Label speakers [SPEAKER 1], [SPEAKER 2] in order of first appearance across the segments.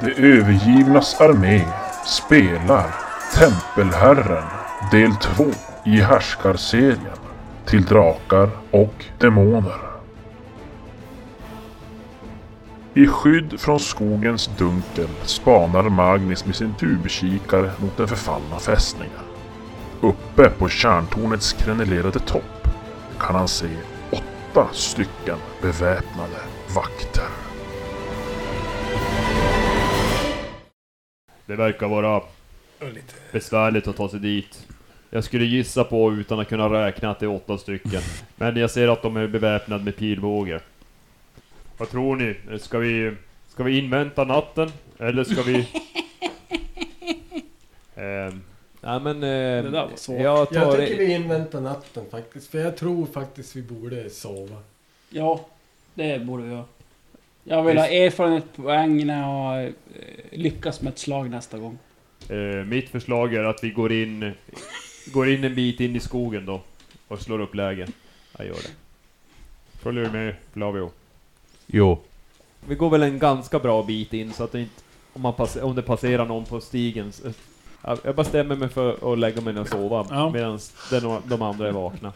[SPEAKER 1] De övergivnas armé spelar Tempelherren del 2 i härskarserien till drakar och demoner. I skydd från skogens dunkel spanar Magnus med sin tubkikare mot den förfallna fästningen. Uppe på kärntornets krenelerade topp kan han se åtta stycken beväpnade vakter.
[SPEAKER 2] Det verkar vara besvärligt att ta sig dit. Jag skulle gissa på, utan att kunna räkna, att det är åtta stycken. Men jag ser att de är beväpnade med pilbåge. Vad tror ni? Ska vi, ska vi invänta natten? Eller ska vi... Ehm, eh,
[SPEAKER 3] Nej men...
[SPEAKER 4] Det där var svårt.
[SPEAKER 3] jag
[SPEAKER 5] Jag
[SPEAKER 3] tar...
[SPEAKER 5] tycker vi inväntar natten faktiskt, för jag tror faktiskt vi borde sova.
[SPEAKER 4] Ja, det borde vi göra. Jag vill ha erfarenhetspoäng när jag eh, lyckas med ett slag nästa gång.
[SPEAKER 2] eh, mitt förslag är att vi går in, går in en bit in i skogen då. Och slår upp läge. Jag gör det. Följer du med Flavio?
[SPEAKER 3] Jo.
[SPEAKER 2] Vi går väl en ganska bra bit in så att det inte... Om, man passe, om det passerar någon på stigen. så- Ja, Jag bestämmer mig för att lägga mig ner och sova
[SPEAKER 4] Ja.
[SPEAKER 2] medan de, de andra är vakna.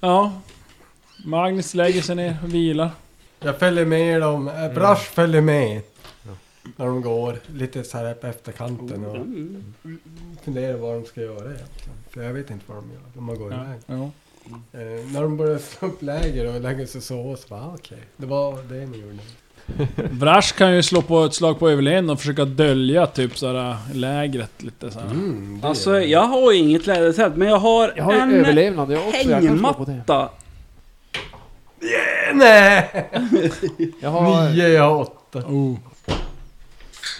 [SPEAKER 4] Ja. Magnus lägger sig ner och vilar.
[SPEAKER 5] Jag följer med dem, eh,
[SPEAKER 4] Mm.
[SPEAKER 5] Brash följer med. När de går, lite så här på efterkanten och
[SPEAKER 4] Mm.
[SPEAKER 5] funderar vad de ska göra egentligen. För jag vet inte vad de gör, de har gått iväg.
[SPEAKER 4] Ja.
[SPEAKER 5] Eh, när de börjar slå upp läger och lägger sig och sova så bara, ah, okej. Det var det ni gjorde.
[SPEAKER 4] Vrash kan ju slå på ett slag på överlevnad och försöka dölja typ såhär lägret lite såhär.
[SPEAKER 5] Mm, det
[SPEAKER 6] Alltså
[SPEAKER 5] gör vi.
[SPEAKER 6] jag har ju inget lädertält men jag har,
[SPEAKER 3] Jag har ju
[SPEAKER 6] en
[SPEAKER 3] överlevnad jag också, jag kan slå på det.
[SPEAKER 6] hängmatta.
[SPEAKER 5] Nej!
[SPEAKER 3] Jag har...
[SPEAKER 5] Nio, jag har åtta.
[SPEAKER 4] Oh.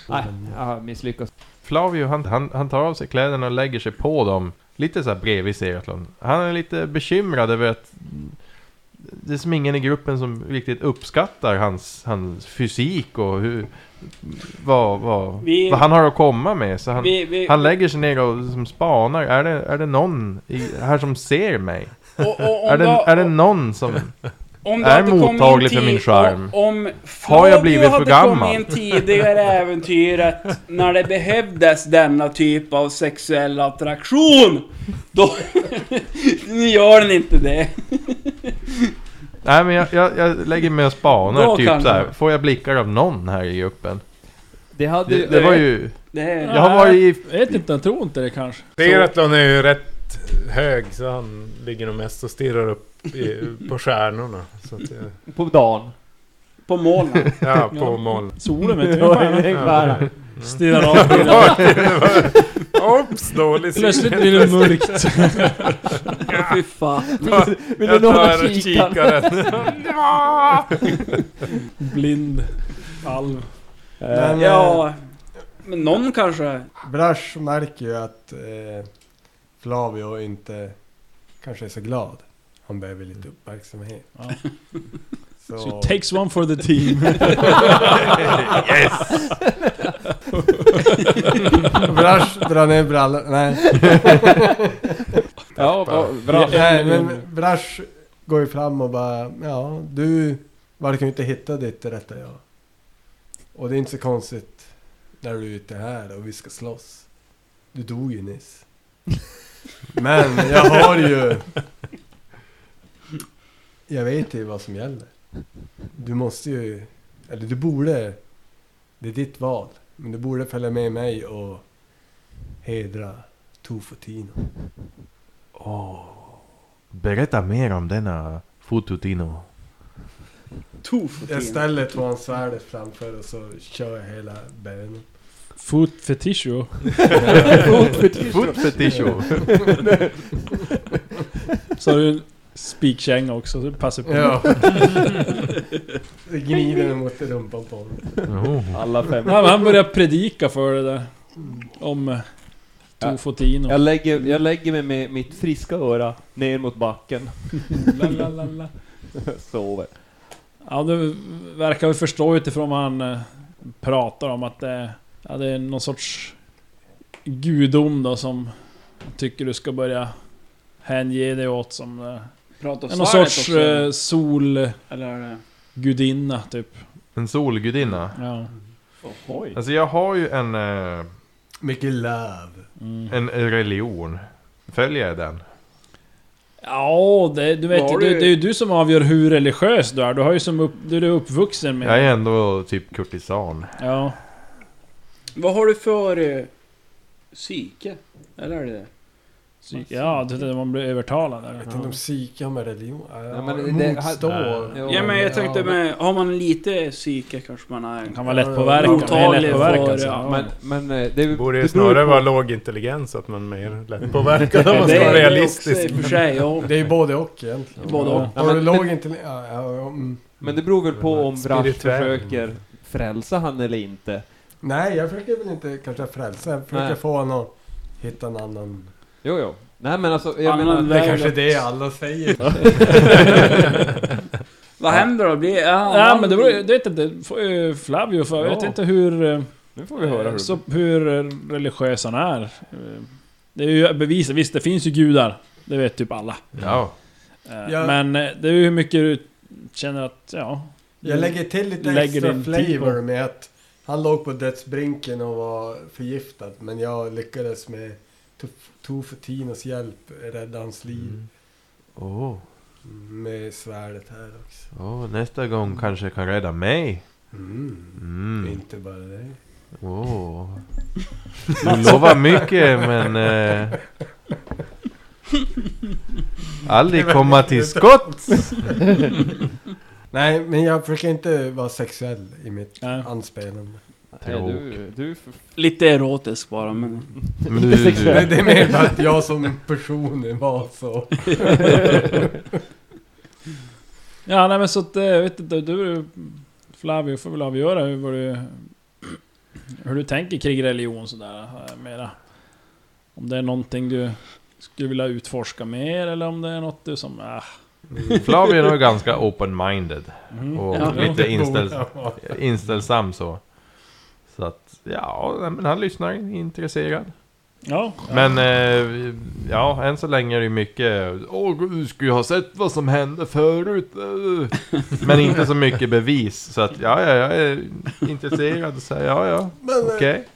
[SPEAKER 3] Nej, jag har misslyckats.
[SPEAKER 7] Flavio han, han, han tar av sig kläderna och lägger sig på dem. Lite så här bredvid Seratlon. Han är lite bekymrad över att det är som ingen i gruppen som riktigt uppskattar hans, hans fysik och hur, vad, vad,
[SPEAKER 6] Vi-
[SPEAKER 7] vad han har att komma med. Så han,
[SPEAKER 6] Vi, vi,
[SPEAKER 7] han lägger sig ner och som spanar. Är det, är det någon i, här som ser mig?
[SPEAKER 6] och, och, om
[SPEAKER 7] Är det,
[SPEAKER 6] jag-
[SPEAKER 7] är det någon som...
[SPEAKER 6] om du
[SPEAKER 7] är
[SPEAKER 6] hade kommit in
[SPEAKER 7] mottaglig för
[SPEAKER 6] tid-
[SPEAKER 7] min charm?
[SPEAKER 6] och- Om
[SPEAKER 7] Har jag blivit
[SPEAKER 6] Flavio
[SPEAKER 7] för
[SPEAKER 6] hade
[SPEAKER 7] gammal?
[SPEAKER 6] kommit in tidigare i äventyret när det behövdes denna typ av sexuell attraktion. Då... nu gör den inte det.
[SPEAKER 7] Nej men jag, jag, jag lägger mig och spanar
[SPEAKER 6] Då
[SPEAKER 7] typ
[SPEAKER 6] kan
[SPEAKER 7] så här.
[SPEAKER 6] du.
[SPEAKER 7] Får jag blickar av någon här i gruppen?
[SPEAKER 3] Det hade
[SPEAKER 7] Det, det var ju...
[SPEAKER 6] det är...
[SPEAKER 7] Jag har varit i
[SPEAKER 4] Jag vet inte, jag tror inte det kanske.
[SPEAKER 8] Seratlon är ju rätt hög så han ligger nog mest och stirrar upp i, på stjärnorna. Så att, jag-
[SPEAKER 3] På dagen.
[SPEAKER 6] På molnen.
[SPEAKER 8] ja, på moln.
[SPEAKER 4] Solen vet
[SPEAKER 3] Det var
[SPEAKER 4] du
[SPEAKER 3] en ungefär.
[SPEAKER 4] Stirrar av bilen.
[SPEAKER 8] Oops, dålig
[SPEAKER 4] Plötsligt blir det mörkt.
[SPEAKER 6] Fy fan.
[SPEAKER 3] Vill du låna kikaren?
[SPEAKER 4] Blind. Alv.
[SPEAKER 5] Men, eh,
[SPEAKER 6] Ja... Men någon kanske...
[SPEAKER 5] Brash märker ju att eh, Flavio inte kanske är så glad. Han behöver lite uppmärksamhet.
[SPEAKER 4] Ja.
[SPEAKER 5] Så,
[SPEAKER 4] So it takes one for the team.
[SPEAKER 5] Brash drar ner brallorna. Nej.
[SPEAKER 3] Ja, vad- bra.
[SPEAKER 5] Nej,
[SPEAKER 2] Mm.
[SPEAKER 5] men Brash går ju fram och bara ja, du verkar ju inte hitta ditt rätta jag. Och det är inte så konstigt när du är ute här och vi ska slåss. Du dog ju nyss. Men jag har ju... Jag vet ju vad som gäller. Du måste ju... Eller du borde... Det är ditt val. Men du borde följa med mig och hedra Tofotino.
[SPEAKER 7] Oh, Berätta mer om denna Fototino.
[SPEAKER 5] Jag ställer tvåhandsvärdet framför och så kör jag hela bönen.
[SPEAKER 4] Foot fetisho.
[SPEAKER 7] Fotfetisho.
[SPEAKER 4] Så har du en spikkänga också, så det passar på.
[SPEAKER 5] Ja. Det gnider mig mot rumpan på honom.
[SPEAKER 7] Oh,
[SPEAKER 3] Alla fem.
[SPEAKER 4] Han, han börjar predika för det där. Om eh, Tofotino.
[SPEAKER 3] Jag lägger, jag lägger mig med mitt friska öra ner mot backen.
[SPEAKER 4] La, la, la, la.
[SPEAKER 3] Sover.
[SPEAKER 4] Ja, det verkar vi förstå utifrån vad han eh, pratar om att det, ja, det är någon sorts gudom då som tycker du ska börja hänge dig åt som... eh,
[SPEAKER 6] Prata om
[SPEAKER 4] Någon
[SPEAKER 6] svärdet
[SPEAKER 4] sorts
[SPEAKER 6] också.
[SPEAKER 4] eh, solgudinna
[SPEAKER 6] Eller...
[SPEAKER 4] typ.
[SPEAKER 7] En solgudinna.
[SPEAKER 4] Ja. Oj.
[SPEAKER 7] Alltså jag har ju en, eh,
[SPEAKER 5] Mycket love.
[SPEAKER 4] Mm.
[SPEAKER 7] en religion. Följer jag den?
[SPEAKER 4] Ja, det, du vet,
[SPEAKER 6] Var
[SPEAKER 4] det,
[SPEAKER 6] det-
[SPEAKER 4] det är ju du som avgör hur religiös du är. Du har ju som upp, du är uppvuxen med...
[SPEAKER 7] Jag är ändå typ kurtisan.
[SPEAKER 4] Ja.
[SPEAKER 6] Vad har du för eh, psyke? Eller är det det?
[SPEAKER 4] Så- Ja, det, det, man blir övertalad. Där.
[SPEAKER 5] Jag vet inte om psyka med religion. Ja,
[SPEAKER 2] men
[SPEAKER 5] men
[SPEAKER 2] det-
[SPEAKER 5] motstå.
[SPEAKER 2] Jo,
[SPEAKER 6] Ja men jag tänkte
[SPEAKER 5] ja,
[SPEAKER 6] med, har man lite psyke kanske man är...
[SPEAKER 4] Kan vara lättpåverkad.
[SPEAKER 6] Mottaglig
[SPEAKER 4] lättpåverkad.
[SPEAKER 6] för-
[SPEAKER 4] Ja.
[SPEAKER 2] Men, men eh, det,
[SPEAKER 1] Borde ju
[SPEAKER 2] det
[SPEAKER 1] snarare vara låg intelligens, att man mer lätt påverkad om man
[SPEAKER 6] Det
[SPEAKER 1] ska
[SPEAKER 6] är
[SPEAKER 1] vara
[SPEAKER 6] det också i
[SPEAKER 1] realistisk.
[SPEAKER 6] och för sig, ja.
[SPEAKER 5] Det är ju både och egentligen.
[SPEAKER 6] Både och.
[SPEAKER 2] Ja,
[SPEAKER 5] Har
[SPEAKER 2] men
[SPEAKER 5] du
[SPEAKER 2] det-
[SPEAKER 5] låg intelligens? Ja, ja, ja, mm.
[SPEAKER 2] Men det beror väl på om Brash
[SPEAKER 1] Spirituell.
[SPEAKER 2] försöker frälsa han eller inte.
[SPEAKER 5] Nej, jag försöker väl inte kanske frälsa. Jag försöker
[SPEAKER 2] Nej.
[SPEAKER 5] få honom att hitta en annan...
[SPEAKER 2] Jo, jo. Nej men alltså, jag
[SPEAKER 6] Annan
[SPEAKER 2] menar...
[SPEAKER 5] Det är
[SPEAKER 6] Nej,
[SPEAKER 5] kanske
[SPEAKER 6] det-
[SPEAKER 5] det alla säger.
[SPEAKER 6] Vad händer då? Blir, ja,
[SPEAKER 4] Ja men det var ju- det vet inte, får ju Flavio för jag vet
[SPEAKER 2] Ja.
[SPEAKER 4] inte hur... eh,
[SPEAKER 2] Nu får vi höra hur
[SPEAKER 4] så, hur eh, religiös han är. Eh, Det är ju bevisat, visst det finns ju gudar. Det vet typ alla.
[SPEAKER 7] Ja.
[SPEAKER 4] Eh,
[SPEAKER 5] Ja.
[SPEAKER 4] Men eh, det är ju hur mycket du känner att, ja...
[SPEAKER 5] Jag lägger till lite
[SPEAKER 4] Mm. Lägger in
[SPEAKER 5] extra
[SPEAKER 4] tid på-
[SPEAKER 5] flavor med att han låg på dödsbrinken och var förgiftad. Men jag lyckades med Tof- Tofu Tinos hjälp rädda hans
[SPEAKER 1] Mm.
[SPEAKER 5] liv.
[SPEAKER 7] Åh,
[SPEAKER 4] Mm.
[SPEAKER 5] Med svärdet här också.
[SPEAKER 7] åh, nästa gång kanske jag kan rädda mig.
[SPEAKER 5] Mm.
[SPEAKER 7] Mm.
[SPEAKER 5] Inte bara det.
[SPEAKER 7] Åh. Du lovar mycket men... Eh, aldrig komma till skott!
[SPEAKER 5] Nej, men jag försöker inte vara sexuell i mitt
[SPEAKER 4] Nej.
[SPEAKER 5] anspelande.
[SPEAKER 2] Nej, du, du för...
[SPEAKER 6] Lite erotisk bara men...
[SPEAKER 7] Men du,
[SPEAKER 5] Nej,
[SPEAKER 7] du,
[SPEAKER 5] det är mer för att jag som person var så.
[SPEAKER 4] Ja nej men så att, eh, jag vet inte, du... Flavio får väl avgöra hur vad du... Hur du tänker kring religion sådär, eh, mera. Om det är någonting du skulle vilja utforska mer eller om det är något du som... Äh.
[SPEAKER 5] eh,
[SPEAKER 7] Flavian är ganska open-minded.
[SPEAKER 4] Mm.
[SPEAKER 7] Och
[SPEAKER 4] Ja.
[SPEAKER 7] lite inställd, inställsam så. Så att, ja, nej, men han lyssnar intresserad.
[SPEAKER 4] Ja.
[SPEAKER 7] Men, eh, ja, än så länge är det ju mycket Åh, du skulle ju ha sett vad som hände förut. eh." Men inte så mycket bevis. Så att, ja, ja, jag är intresserad. Så här, ja, ja,
[SPEAKER 5] Men, eh,
[SPEAKER 7] okej.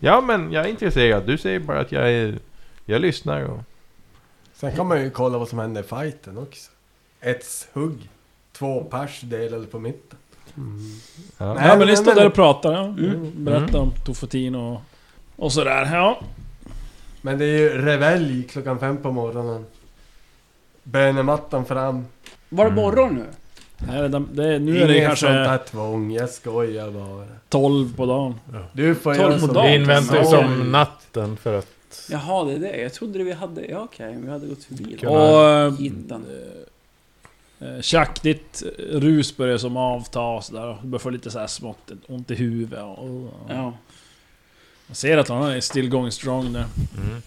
[SPEAKER 7] Ja, men jag är intresserad. Du säger bara att jag är... Jag lyssnar och...
[SPEAKER 5] Sen kan man ju kolla vad som hände i fighten också. Ett hugg. Två pers delade på mitten.
[SPEAKER 7] Ja.
[SPEAKER 4] ja men ni står
[SPEAKER 5] men-
[SPEAKER 4] där och pratar, ja.
[SPEAKER 5] Mm.
[SPEAKER 4] Berätta om Tofotin och... Och sådär, ja.
[SPEAKER 5] Men det är ju revelj klockan fem på morgonen. Bönemattan fram.
[SPEAKER 6] Var det
[SPEAKER 7] Mm.
[SPEAKER 6] morgon nu?
[SPEAKER 4] Nej, det, det, nu är det
[SPEAKER 5] Inget sånt
[SPEAKER 4] kanske
[SPEAKER 5] här tvång. Jag skojar bara.
[SPEAKER 4] 12 på dagen.
[SPEAKER 5] Du får
[SPEAKER 4] Tolv
[SPEAKER 5] göra
[SPEAKER 4] på
[SPEAKER 5] som
[SPEAKER 4] dagen.
[SPEAKER 1] Vi
[SPEAKER 5] du
[SPEAKER 1] inväntar ju
[SPEAKER 5] vill.
[SPEAKER 1] som natten för att
[SPEAKER 6] Jaha det är det. Jag trodde vi hade... Ja okej, vi hade gått förbi det.
[SPEAKER 1] Kunna-
[SPEAKER 4] Och... eh,
[SPEAKER 6] Hittan.
[SPEAKER 4] eh, Tjack, ditt eh, rus börjar som avta och sådär. Du börjar få lite så här smått ont i huvudet och... och, och.
[SPEAKER 6] Ja.
[SPEAKER 4] Man ser att han är still going strong där.
[SPEAKER 6] Mm.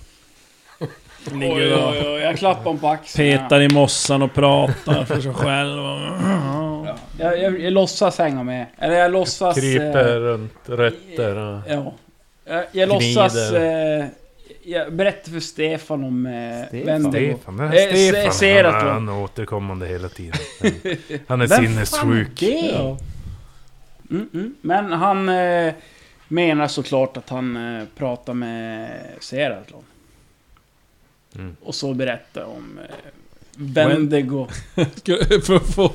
[SPEAKER 6] Oj,
[SPEAKER 4] Ligger
[SPEAKER 6] oj,
[SPEAKER 4] och
[SPEAKER 6] oj, jag klappar honom på axeln.
[SPEAKER 4] petar i mossan och pratar för sig själv. och-
[SPEAKER 6] Ja. Jag, jag, jag låtsas hänga med. Eller jag låtsas... eh,
[SPEAKER 1] krypa runt rötter. och-
[SPEAKER 6] Ja. Jag, jag låtsas... Eh, jag berättar för Stefan om... Eh,
[SPEAKER 2] Stefan?
[SPEAKER 6] vem det var.
[SPEAKER 1] Stefan, den här
[SPEAKER 6] Eh, se-
[SPEAKER 1] Stefan.
[SPEAKER 6] ser
[SPEAKER 1] han,
[SPEAKER 6] att
[SPEAKER 1] är-
[SPEAKER 6] de-
[SPEAKER 1] han är återkommande hela tiden. Han är
[SPEAKER 6] Vem fan
[SPEAKER 1] sinnessjuk.
[SPEAKER 6] är det?
[SPEAKER 4] Ja.
[SPEAKER 6] Mm, mm. Men han eh, menar såklart att han eh, pratar med Seratlon.
[SPEAKER 1] Mm.
[SPEAKER 6] Och så berättar om eh, Bendigo.
[SPEAKER 4] Ska- för att få...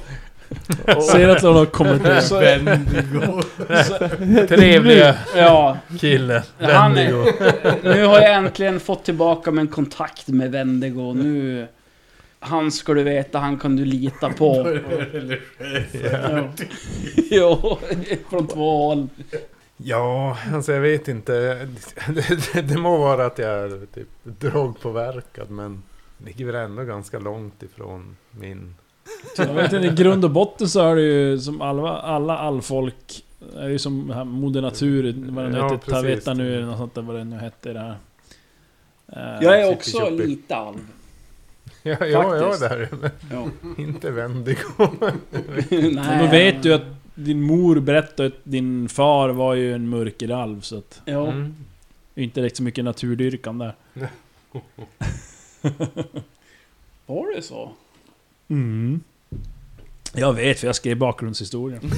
[SPEAKER 4] Ser att någon har kommit in.
[SPEAKER 6] Så-
[SPEAKER 5] Bendigo.
[SPEAKER 1] Trevliga
[SPEAKER 6] Ja,
[SPEAKER 1] killen.
[SPEAKER 6] han är-
[SPEAKER 1] Bendigo.
[SPEAKER 6] nu har jag äntligen fått tillbaka min kontakt med Vendigo. Nu... Han ska du veta, han kan du lita på. ja. jo, från två håll.
[SPEAKER 1] Ja, alltså jag vet inte. Det, det, det må vara att jag är typ drogpåverkad men ligger väl ändå ganska långt ifrån min...
[SPEAKER 4] Jag vet inte, i grund och botten så är det ju som alla, alla allfolk är ju som det här Moder Natur, vad den nu
[SPEAKER 1] Ja,
[SPEAKER 4] hette,
[SPEAKER 1] precis.
[SPEAKER 4] Taveta nu eller något sånt där, vad den nu hette i det här. Eh,
[SPEAKER 6] Jag är
[SPEAKER 1] Chippy
[SPEAKER 6] också
[SPEAKER 1] Chippy.
[SPEAKER 6] lite alv.
[SPEAKER 1] Ja, ja, ja
[SPEAKER 6] Faktiskt.
[SPEAKER 1] där. Men
[SPEAKER 6] Ja.
[SPEAKER 1] inte Vendigo.
[SPEAKER 4] Men då vet du att din mor berättade att din far var ju en mörkeralv så att
[SPEAKER 6] Ja.
[SPEAKER 1] Mm.
[SPEAKER 4] det är inte riktigt så mycket naturdyrkan där.
[SPEAKER 6] Var det så?
[SPEAKER 4] Jag vet, för jag skrev bakgrundshistorien.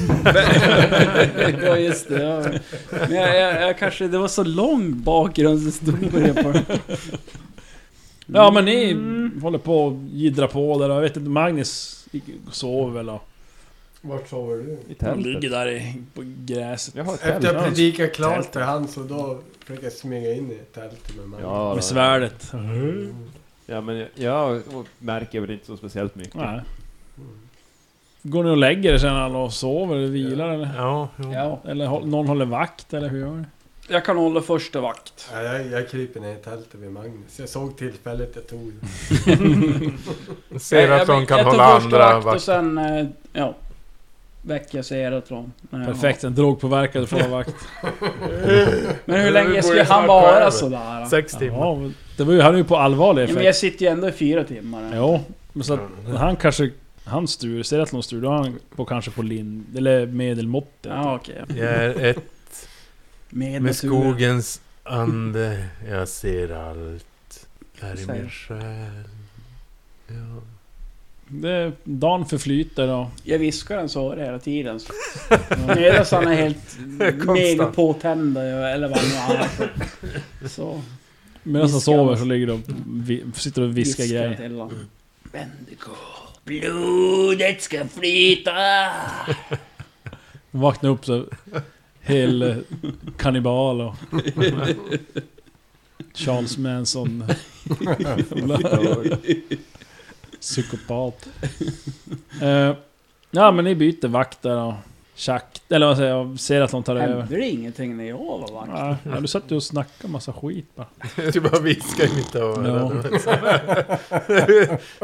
[SPEAKER 6] ja just det. Ja. Men jag, jag, jag kanske, det var så lång bakgrundshistoria på den.
[SPEAKER 4] Ja men ni håller på och jiddrar på där och jag vet inte, Magnus gick- sover väl och...
[SPEAKER 5] Vart sover du?
[SPEAKER 2] I
[SPEAKER 4] Han
[SPEAKER 2] tältet.
[SPEAKER 4] ligger där i, på gräset.
[SPEAKER 2] Jag har ett tält.
[SPEAKER 5] Efter jag predikat klart för han så då försöker jag smyga in i tältet med Magnus.
[SPEAKER 2] Ja,
[SPEAKER 4] Med svärdet.
[SPEAKER 2] Ja, men jag, jag märker väl inte så speciellt mycket.
[SPEAKER 4] Nej. Går ni och lägger er sen alla och sover eller vilar eller?
[SPEAKER 1] Ja, jo.
[SPEAKER 6] Ja.
[SPEAKER 4] Eller hå- någon håller vakt eller hur gör ni?
[SPEAKER 6] Jag kan hålla första vakt.
[SPEAKER 5] Ja, jag, jag kryper ner i tältet vid Magnus. Jag såg tillfället, jag tog det.
[SPEAKER 1] Ser
[SPEAKER 6] Jag-
[SPEAKER 1] att de
[SPEAKER 6] jag-
[SPEAKER 1] kan
[SPEAKER 6] jag tar
[SPEAKER 1] hålla
[SPEAKER 6] första
[SPEAKER 1] andra
[SPEAKER 6] vakt. Och
[SPEAKER 1] vakt.
[SPEAKER 6] sen, eh, ja. Väcker jag Seratron.
[SPEAKER 4] Perfekt, en drogpåverkad får vara vakt.
[SPEAKER 6] Men
[SPEAKER 1] Nu
[SPEAKER 6] hur länge
[SPEAKER 1] går
[SPEAKER 6] skulle
[SPEAKER 1] jag
[SPEAKER 6] han
[SPEAKER 1] snart
[SPEAKER 6] vara
[SPEAKER 1] över.
[SPEAKER 6] sådär?
[SPEAKER 1] Sex timmar.
[SPEAKER 4] Ja, men det var ju, han är ju på allvarlig
[SPEAKER 6] Ja, men
[SPEAKER 4] effekt.
[SPEAKER 6] jag sitter ju ändå i fyra timmar.
[SPEAKER 4] Jo, men så att han kanske... Han stur, ser att någon stur, då har han på, kanske på lin... Eller medelmåttet.
[SPEAKER 6] Ja, okej.
[SPEAKER 1] Jag är ett
[SPEAKER 6] Med,
[SPEAKER 1] med
[SPEAKER 6] naturen.
[SPEAKER 1] skogens ande. Jag ser allt. Här i
[SPEAKER 6] Säger.
[SPEAKER 1] min själ. Ja.
[SPEAKER 4] Det, dagen förflyter och...
[SPEAKER 6] Jag viskar en så hela tiden. så- Medan han är helt mega påtänd eller vad han nu är. Så
[SPEAKER 4] Medan han
[SPEAKER 6] Viskar.
[SPEAKER 4] sover så ligger de, vi, sitter och viskar grejer.
[SPEAKER 6] till honom. Bendigo. Blodet ska flyta!
[SPEAKER 4] Vaknar upp så... Hel eh, kannibal och... Charles Manson. Jävla Psykopat. Eh, ja men ni byter vakt där och... Tjack, eller vad säger jag? Ser att någon tar över.
[SPEAKER 6] Hände det ingenting när jag var vakt?
[SPEAKER 4] Ja, ja, du satt ju och snackade massa skit bara.
[SPEAKER 1] Du bara viskar i mitt öra.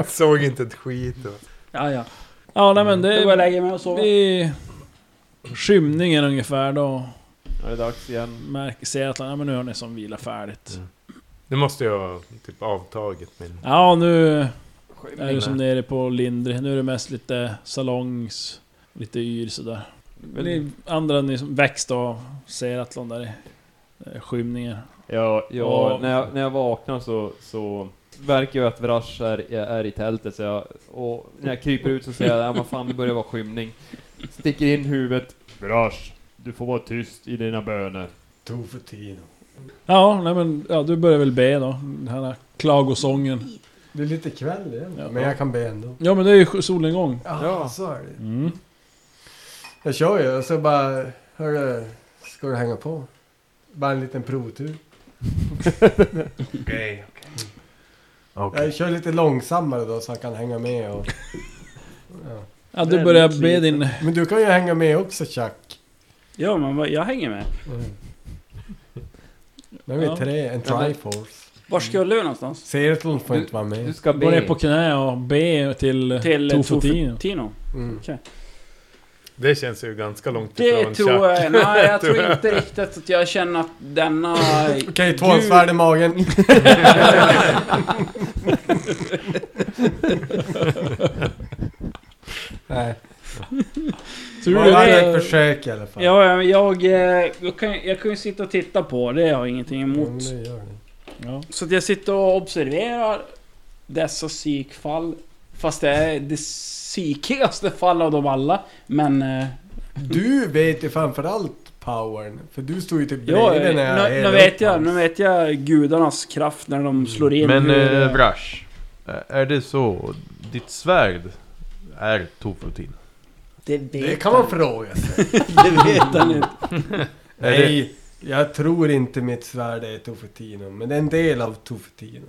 [SPEAKER 1] Såg inte ett skit. Då.
[SPEAKER 6] Ja, ja.
[SPEAKER 4] Ja nej men det...
[SPEAKER 6] Då går jag och lägger mig och sover.
[SPEAKER 4] I skymningen ungefär då
[SPEAKER 2] Är det dags igen?
[SPEAKER 4] märker, ser jag att ja, men nu har ni som vilar färdigt.
[SPEAKER 1] Nu måste jag ha typ avtaget min...
[SPEAKER 4] Ja nu är det som nere på Lindre. Nu är det mest lite salongs, lite yr sådär. Men ni andra ni som växt då ser att de där i eh, skymningen.
[SPEAKER 2] Ja, ja
[SPEAKER 4] Och-
[SPEAKER 2] när, jag, när jag vaknar så, så verkar ju att Vrash är, är i tältet så jag, och när jag kryper ut så säger jag, ja men fan det börjar vara skymning. Sticker in huvudet. Vrash, du får vara tyst i dina böner.
[SPEAKER 5] Tog för tiden.
[SPEAKER 4] Ja, nej men ja, du börjar väl be då. Den här klagosången.
[SPEAKER 5] Det är lite kväll igen,
[SPEAKER 4] Ja.
[SPEAKER 5] men jag kan be ändå.
[SPEAKER 4] Ja men det är ju solnedgång.
[SPEAKER 5] Ja, så är det.
[SPEAKER 4] Mm.
[SPEAKER 5] Jag kör ju och så bara, hörru, ska du hänga på? Bara en liten provtur.
[SPEAKER 1] Okej,
[SPEAKER 5] Jag kör lite långsammare då så han kan hänga med och... Ja.
[SPEAKER 4] Ja, du börjar be din...
[SPEAKER 5] Men du kan ju hänga med också Chuck.
[SPEAKER 6] Ja, men vad- jag hänger med.
[SPEAKER 5] Nu är vi
[SPEAKER 4] Ja.
[SPEAKER 5] tre, en triforce.
[SPEAKER 6] Var skulle vi någonstans?
[SPEAKER 5] Seratlon får
[SPEAKER 2] Du-
[SPEAKER 5] inte vara
[SPEAKER 2] Du
[SPEAKER 5] med.
[SPEAKER 2] ska
[SPEAKER 4] Går ner
[SPEAKER 2] be.
[SPEAKER 4] på knä och be till,
[SPEAKER 6] Till
[SPEAKER 4] till Tofutino.
[SPEAKER 6] Tofutino.
[SPEAKER 5] Mm.
[SPEAKER 1] Det känns ju ganska långt
[SPEAKER 6] Det
[SPEAKER 1] ifrån
[SPEAKER 6] tror
[SPEAKER 1] Chuck.
[SPEAKER 6] jag. Nej, jag tror inte riktigt att jag känner att denna...
[SPEAKER 5] Okej, två svärd i magen. Nej, det
[SPEAKER 4] Tur det
[SPEAKER 5] var
[SPEAKER 6] det-
[SPEAKER 5] ett försök i alla fall.
[SPEAKER 6] Ja, jag, jag, eh, jag, kan, jag kan ju sitta och titta på, det har jag ingenting
[SPEAKER 5] Ja,
[SPEAKER 6] emot.
[SPEAKER 5] men det gör ni.
[SPEAKER 4] Ja.
[SPEAKER 6] Så att jag sitter och observerar dessa psykfall. Fast det är det psykigaste fall av dem alla. Men... eh,
[SPEAKER 5] Du vet ju framförallt powern. För du stod ju typ
[SPEAKER 6] Ja,
[SPEAKER 5] bredvid när jag
[SPEAKER 6] nu, nu,
[SPEAKER 5] helade
[SPEAKER 6] vet
[SPEAKER 5] upp
[SPEAKER 6] jag,
[SPEAKER 5] hans.
[SPEAKER 6] nu vet jag gudarnas kraft när de slår in
[SPEAKER 7] Men
[SPEAKER 6] hur-
[SPEAKER 7] eh, Vrash, eh, är det så? Ditt svärd är Tofotin?
[SPEAKER 6] Det vet
[SPEAKER 5] Det kan man fråga sig.
[SPEAKER 6] Det vet han inte.
[SPEAKER 7] Är
[SPEAKER 5] Nej, jag tror inte mitt svärd är Tofutino. Men det är en del av Tofutino.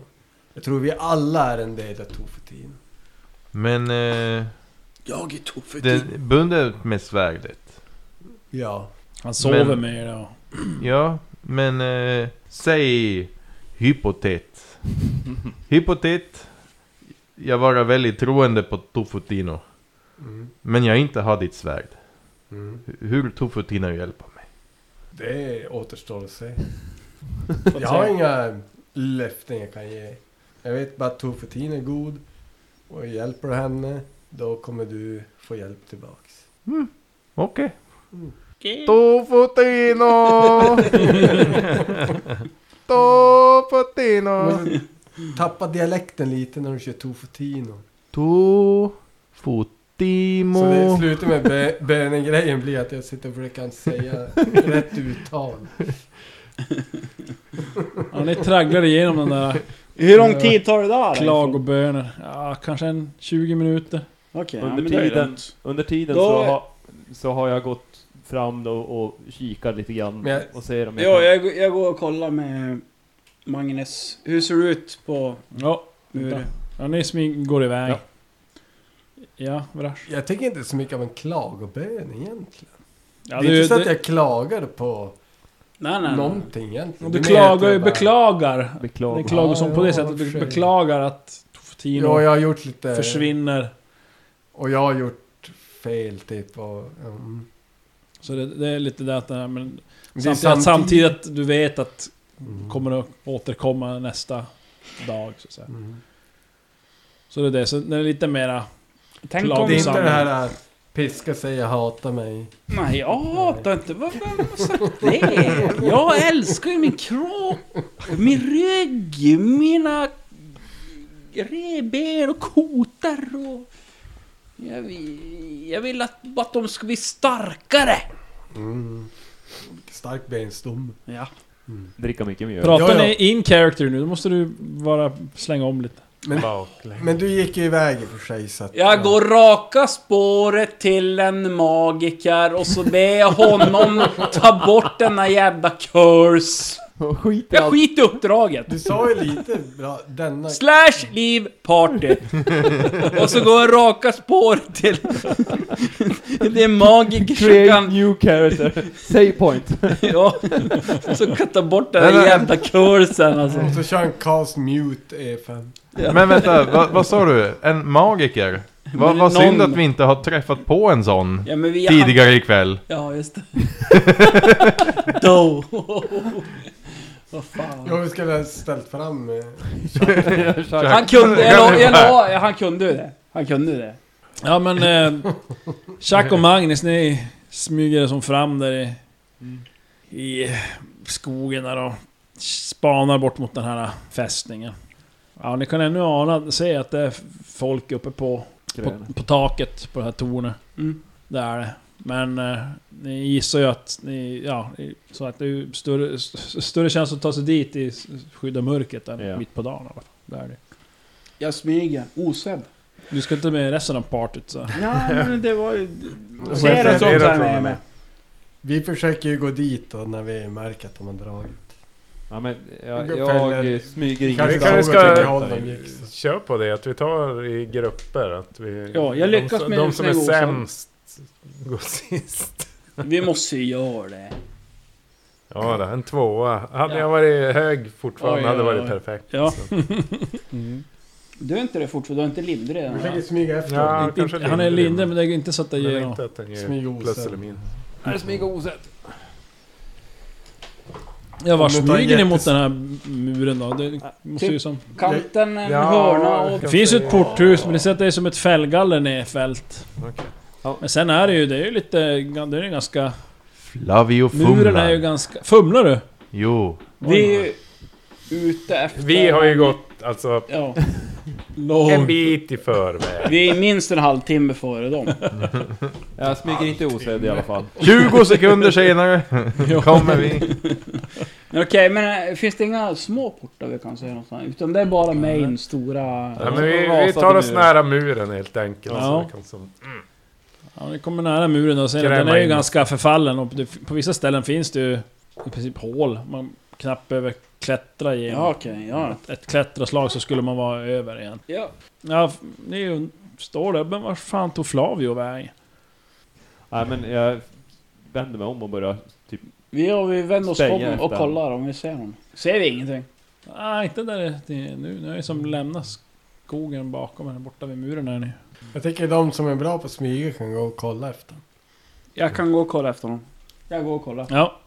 [SPEAKER 5] Jag tror vi alla är en del av Tofutino.
[SPEAKER 7] Men eh,
[SPEAKER 6] Jag är Toffe
[SPEAKER 7] den bundet med svärdet?
[SPEAKER 5] Ja.
[SPEAKER 4] Han sover
[SPEAKER 7] Men-
[SPEAKER 4] med det och...
[SPEAKER 7] Ja, men eh, säg hypotet. hypotet. Jag var väldigt troende på Tofutino.
[SPEAKER 5] Mm.
[SPEAKER 7] Men jag inte har ditt svärd.
[SPEAKER 5] Mm.
[SPEAKER 7] Hur Tofutino hjälper mig?
[SPEAKER 5] Det återstår att se. Jag har inga löften jag kan ge. Jag vet bara att Tofutin är god. Och hjälper du henne, då kommer du få hjälp tillbaks.
[SPEAKER 7] Okej. Tofutino!
[SPEAKER 5] Du
[SPEAKER 7] Tofutino!
[SPEAKER 5] måste tappa dialekten lite när du kör Tofutino.
[SPEAKER 7] Tofutino. Timo.
[SPEAKER 5] Så det slutar med bö- bönegrejen blir att jag sitter och försöker säga rätt uttal.
[SPEAKER 4] Ja, ni tragglar igenom den där
[SPEAKER 6] Hur lång tid tar det där?
[SPEAKER 4] klagobönen. Ja, kanske en 20 minuter.
[SPEAKER 6] Okej, ja,
[SPEAKER 9] Under
[SPEAKER 6] men det är ju
[SPEAKER 9] tiden,
[SPEAKER 6] lugnt.
[SPEAKER 9] under tiden
[SPEAKER 6] Då
[SPEAKER 9] så,
[SPEAKER 6] är-
[SPEAKER 9] ha, så har jag gått fram då och kikat lite grann
[SPEAKER 5] Men jag-
[SPEAKER 9] och ser om
[SPEAKER 6] Ja,
[SPEAKER 9] jag,
[SPEAKER 6] jag, går- jag går och kollar med Magnus. Hur ser det ut på
[SPEAKER 4] Ja,
[SPEAKER 6] muren?
[SPEAKER 4] ja ni smyg går iväg.
[SPEAKER 9] Ja.
[SPEAKER 4] Ja, ja Vrash.
[SPEAKER 5] Jag tänker inte så mycket av en klagobön egentligen.
[SPEAKER 4] Ja,
[SPEAKER 5] det är inte
[SPEAKER 4] du,
[SPEAKER 5] så att
[SPEAKER 4] du,
[SPEAKER 5] jag klagar på
[SPEAKER 6] Nej, nej, nej.
[SPEAKER 5] någonting egentligen.
[SPEAKER 4] du
[SPEAKER 5] Det är mer att
[SPEAKER 4] klagar ju,
[SPEAKER 5] jag bara-
[SPEAKER 4] beklagar.
[SPEAKER 9] kan
[SPEAKER 4] Det
[SPEAKER 9] beklaga.
[SPEAKER 4] är klagosom
[SPEAKER 5] Ja,
[SPEAKER 4] på
[SPEAKER 5] ja,
[SPEAKER 4] det sättet.
[SPEAKER 5] i och
[SPEAKER 4] Du
[SPEAKER 5] för sig.
[SPEAKER 4] beklagar att Tino
[SPEAKER 5] Ja, jag har gjort lite...
[SPEAKER 4] försvinner.
[SPEAKER 5] Och jag har gjort fel typ och... Um,
[SPEAKER 4] Så det, det är lite det att... det här, Men
[SPEAKER 5] det är
[SPEAKER 4] samtidigt, samtidigt. att du vet att
[SPEAKER 5] Mm.
[SPEAKER 4] kommer att återkomma nästa dag. Så, att säga.
[SPEAKER 5] Mm.
[SPEAKER 4] så det är det. Så det är lite mera...
[SPEAKER 6] Tänk
[SPEAKER 4] Klagosam.
[SPEAKER 6] om...
[SPEAKER 5] Det är inte
[SPEAKER 4] Samma.
[SPEAKER 5] det här äh, piska sig, jag hatar mig.
[SPEAKER 6] Nej, jag hatar inte. Vad vem har sagt det? Jag älskar ju min kropp, min rygg, mina revben och kotar och... Jag vill, jag vill att, bara att de ska bli starkare.
[SPEAKER 1] Mm.
[SPEAKER 5] Stark benstom.
[SPEAKER 6] Ja.
[SPEAKER 9] Dricka mycket mjöl.
[SPEAKER 4] Pratar
[SPEAKER 5] Ja, ja.
[SPEAKER 4] ni in character nu? Då måste du bara slänga om lite.
[SPEAKER 5] Men,
[SPEAKER 1] Baklänges.
[SPEAKER 5] men du gick ju iväg i och för sig så att,
[SPEAKER 6] Jag går raka spåret till en magiker och så ber jag honom ta bort denna jävla curse.
[SPEAKER 9] Skit i
[SPEAKER 6] Jag
[SPEAKER 9] allt.
[SPEAKER 6] skiter i uppdraget.
[SPEAKER 5] Du sa ju lite bra, denna...
[SPEAKER 6] Slash liv party. Och så går jag raka spår till... Det är magiker som
[SPEAKER 9] Create
[SPEAKER 6] kan...
[SPEAKER 9] new character. Save point.
[SPEAKER 6] Ja, som kan ta bort den här jävla kursen alltså.
[SPEAKER 5] Och så kör han cast mute E E5.
[SPEAKER 7] Men vänta, vad, vad sa du? En magiker? Vad,
[SPEAKER 6] Men
[SPEAKER 7] vad
[SPEAKER 6] någon-
[SPEAKER 7] synd att vi inte har träffat på en sån
[SPEAKER 6] Ja, men vi
[SPEAKER 7] tidigare ikväll.
[SPEAKER 6] Ja, just det. Då. Vad fan.
[SPEAKER 5] Jag skulle ha ställt fram... eh,
[SPEAKER 6] Han kunde, jag lo- jag lo- han kunde ju det. Han kunde ju det.
[SPEAKER 4] Ja men... Eh, Chuck och Magnus, ni smyger er som fram där i... I skogen där och spanar bort mot den här fästningen. Ja, ni kan ännu ana, se att det är folk uppe på, på, på taket på det här tornet.
[SPEAKER 6] Mm.
[SPEAKER 4] Det är det. Men eh, ni gissar ju att ni, ja, i- så att det är ju större, st- större chans att ta sig dit i s- skydd av mörkret än
[SPEAKER 9] Ja.
[SPEAKER 4] mitt på dagen i alla fall. Det är det.
[SPEAKER 6] Jag smyger, osedd.
[SPEAKER 4] Du ska inte med resten av partyt så.
[SPEAKER 6] Ja, men det var ju...
[SPEAKER 5] Och
[SPEAKER 6] Ser du
[SPEAKER 5] sen-
[SPEAKER 6] sånt där med mig?
[SPEAKER 5] Vi försöker ju gå dit då när vi märker att de har dragit.
[SPEAKER 9] Ja, men jag,
[SPEAKER 5] Fäller-
[SPEAKER 9] jag smyger in.
[SPEAKER 5] Kanske
[SPEAKER 1] Vi kan-
[SPEAKER 5] kan
[SPEAKER 1] vi
[SPEAKER 5] ska... åt vilket
[SPEAKER 1] ska-
[SPEAKER 5] håll de gick. så.
[SPEAKER 1] Kör på det, att vi tar i grupper. Att vi,
[SPEAKER 6] Ja, jag lyckas
[SPEAKER 1] de, som-
[SPEAKER 6] med
[SPEAKER 1] De som är
[SPEAKER 6] Snägosen.
[SPEAKER 1] sämst går sist.
[SPEAKER 6] Vi måste ju göra det.
[SPEAKER 1] Ja, då, en tvåa. Hade
[SPEAKER 6] Ja.
[SPEAKER 1] jag varit hög fortfarande
[SPEAKER 6] Oj,
[SPEAKER 1] hade det
[SPEAKER 6] oj,
[SPEAKER 1] varit
[SPEAKER 6] oj.
[SPEAKER 1] perfekt.
[SPEAKER 6] Ja.
[SPEAKER 1] Så.
[SPEAKER 6] Du är inte det fortfarande, du är inte lindrig
[SPEAKER 5] Vi
[SPEAKER 6] än
[SPEAKER 5] försöker
[SPEAKER 6] va?
[SPEAKER 5] smyga efter
[SPEAKER 1] Ja,
[SPEAKER 5] dem.
[SPEAKER 1] kanske
[SPEAKER 4] Inte, han är
[SPEAKER 1] lindrig,
[SPEAKER 4] lindrig men det är inte så att det
[SPEAKER 1] Men
[SPEAKER 4] ger
[SPEAKER 1] inte
[SPEAKER 4] något.
[SPEAKER 1] att den
[SPEAKER 5] Smyga
[SPEAKER 1] ger
[SPEAKER 5] osedd.
[SPEAKER 1] plus eller minus.
[SPEAKER 9] Smyga osett.
[SPEAKER 4] Ja, var
[SPEAKER 5] Om du tar
[SPEAKER 4] smyger ni
[SPEAKER 5] jättes-
[SPEAKER 4] mot den här muren då? Det måste
[SPEAKER 6] typ.
[SPEAKER 4] ju som...
[SPEAKER 6] Kanten, en
[SPEAKER 1] Ja,
[SPEAKER 6] hörna och...
[SPEAKER 4] Det
[SPEAKER 1] jag
[SPEAKER 4] finns ju
[SPEAKER 1] säger-
[SPEAKER 4] ett porthus men ni ser att det är som ett fällgaller nedfällt.
[SPEAKER 1] Okej.
[SPEAKER 4] Men sen är det ju, det är ju lite, det är ju ganska...
[SPEAKER 7] Flavio
[SPEAKER 4] Muren är
[SPEAKER 7] Fumla.
[SPEAKER 4] ju ganska... Fumlar du?
[SPEAKER 7] Jo.
[SPEAKER 6] Vi är ju ute efter...
[SPEAKER 1] Vi har ju gått alltså
[SPEAKER 6] Ja,
[SPEAKER 1] en bit i förväg.
[SPEAKER 6] vi är minst en halvtimme före dem.
[SPEAKER 9] Jag smyger inte osedd i alla fall.
[SPEAKER 7] 20 sekunder senare kommer vi.
[SPEAKER 6] Men okej, men eh, finns det inga små portar vi kan säga någonstans? Utan det är bara main, stora...
[SPEAKER 1] Ja, men vi, vi tar oss nära muren helt enkelt.
[SPEAKER 4] Ja.
[SPEAKER 1] Så vi kan som,
[SPEAKER 6] Mm.
[SPEAKER 4] Ja, ni kommer nära muren och ser att den
[SPEAKER 1] Skrämma
[SPEAKER 4] är ju
[SPEAKER 1] in.
[SPEAKER 4] ganska förfallen och det, på vissa ställen finns det ju i princip hål man knappt behöver klättra igenom.
[SPEAKER 6] Ja, okej, ja.
[SPEAKER 4] Ett, ett klättraslag så skulle man vara över igen.
[SPEAKER 6] ja.
[SPEAKER 4] Ja, f- ni är ju- står där, men vart fan tog Flavio vägen?
[SPEAKER 9] Nej, men jag vänder mig om och börjar typ...
[SPEAKER 6] Vi, har, vi vänder oss
[SPEAKER 9] Speja
[SPEAKER 6] om och
[SPEAKER 9] efter.
[SPEAKER 6] kollar om vi ser någon. Ser vi ingenting?
[SPEAKER 4] Nej, inte där det- det är nu. Nu är det som lämnat skogen bakom här borta vid muren här nu.
[SPEAKER 5] Jag tycker de som är bra på att smyga kan gå och kolla efter dem.
[SPEAKER 6] Jag kan gå och kolla efter honom. Jag går och kollar.
[SPEAKER 4] Ja.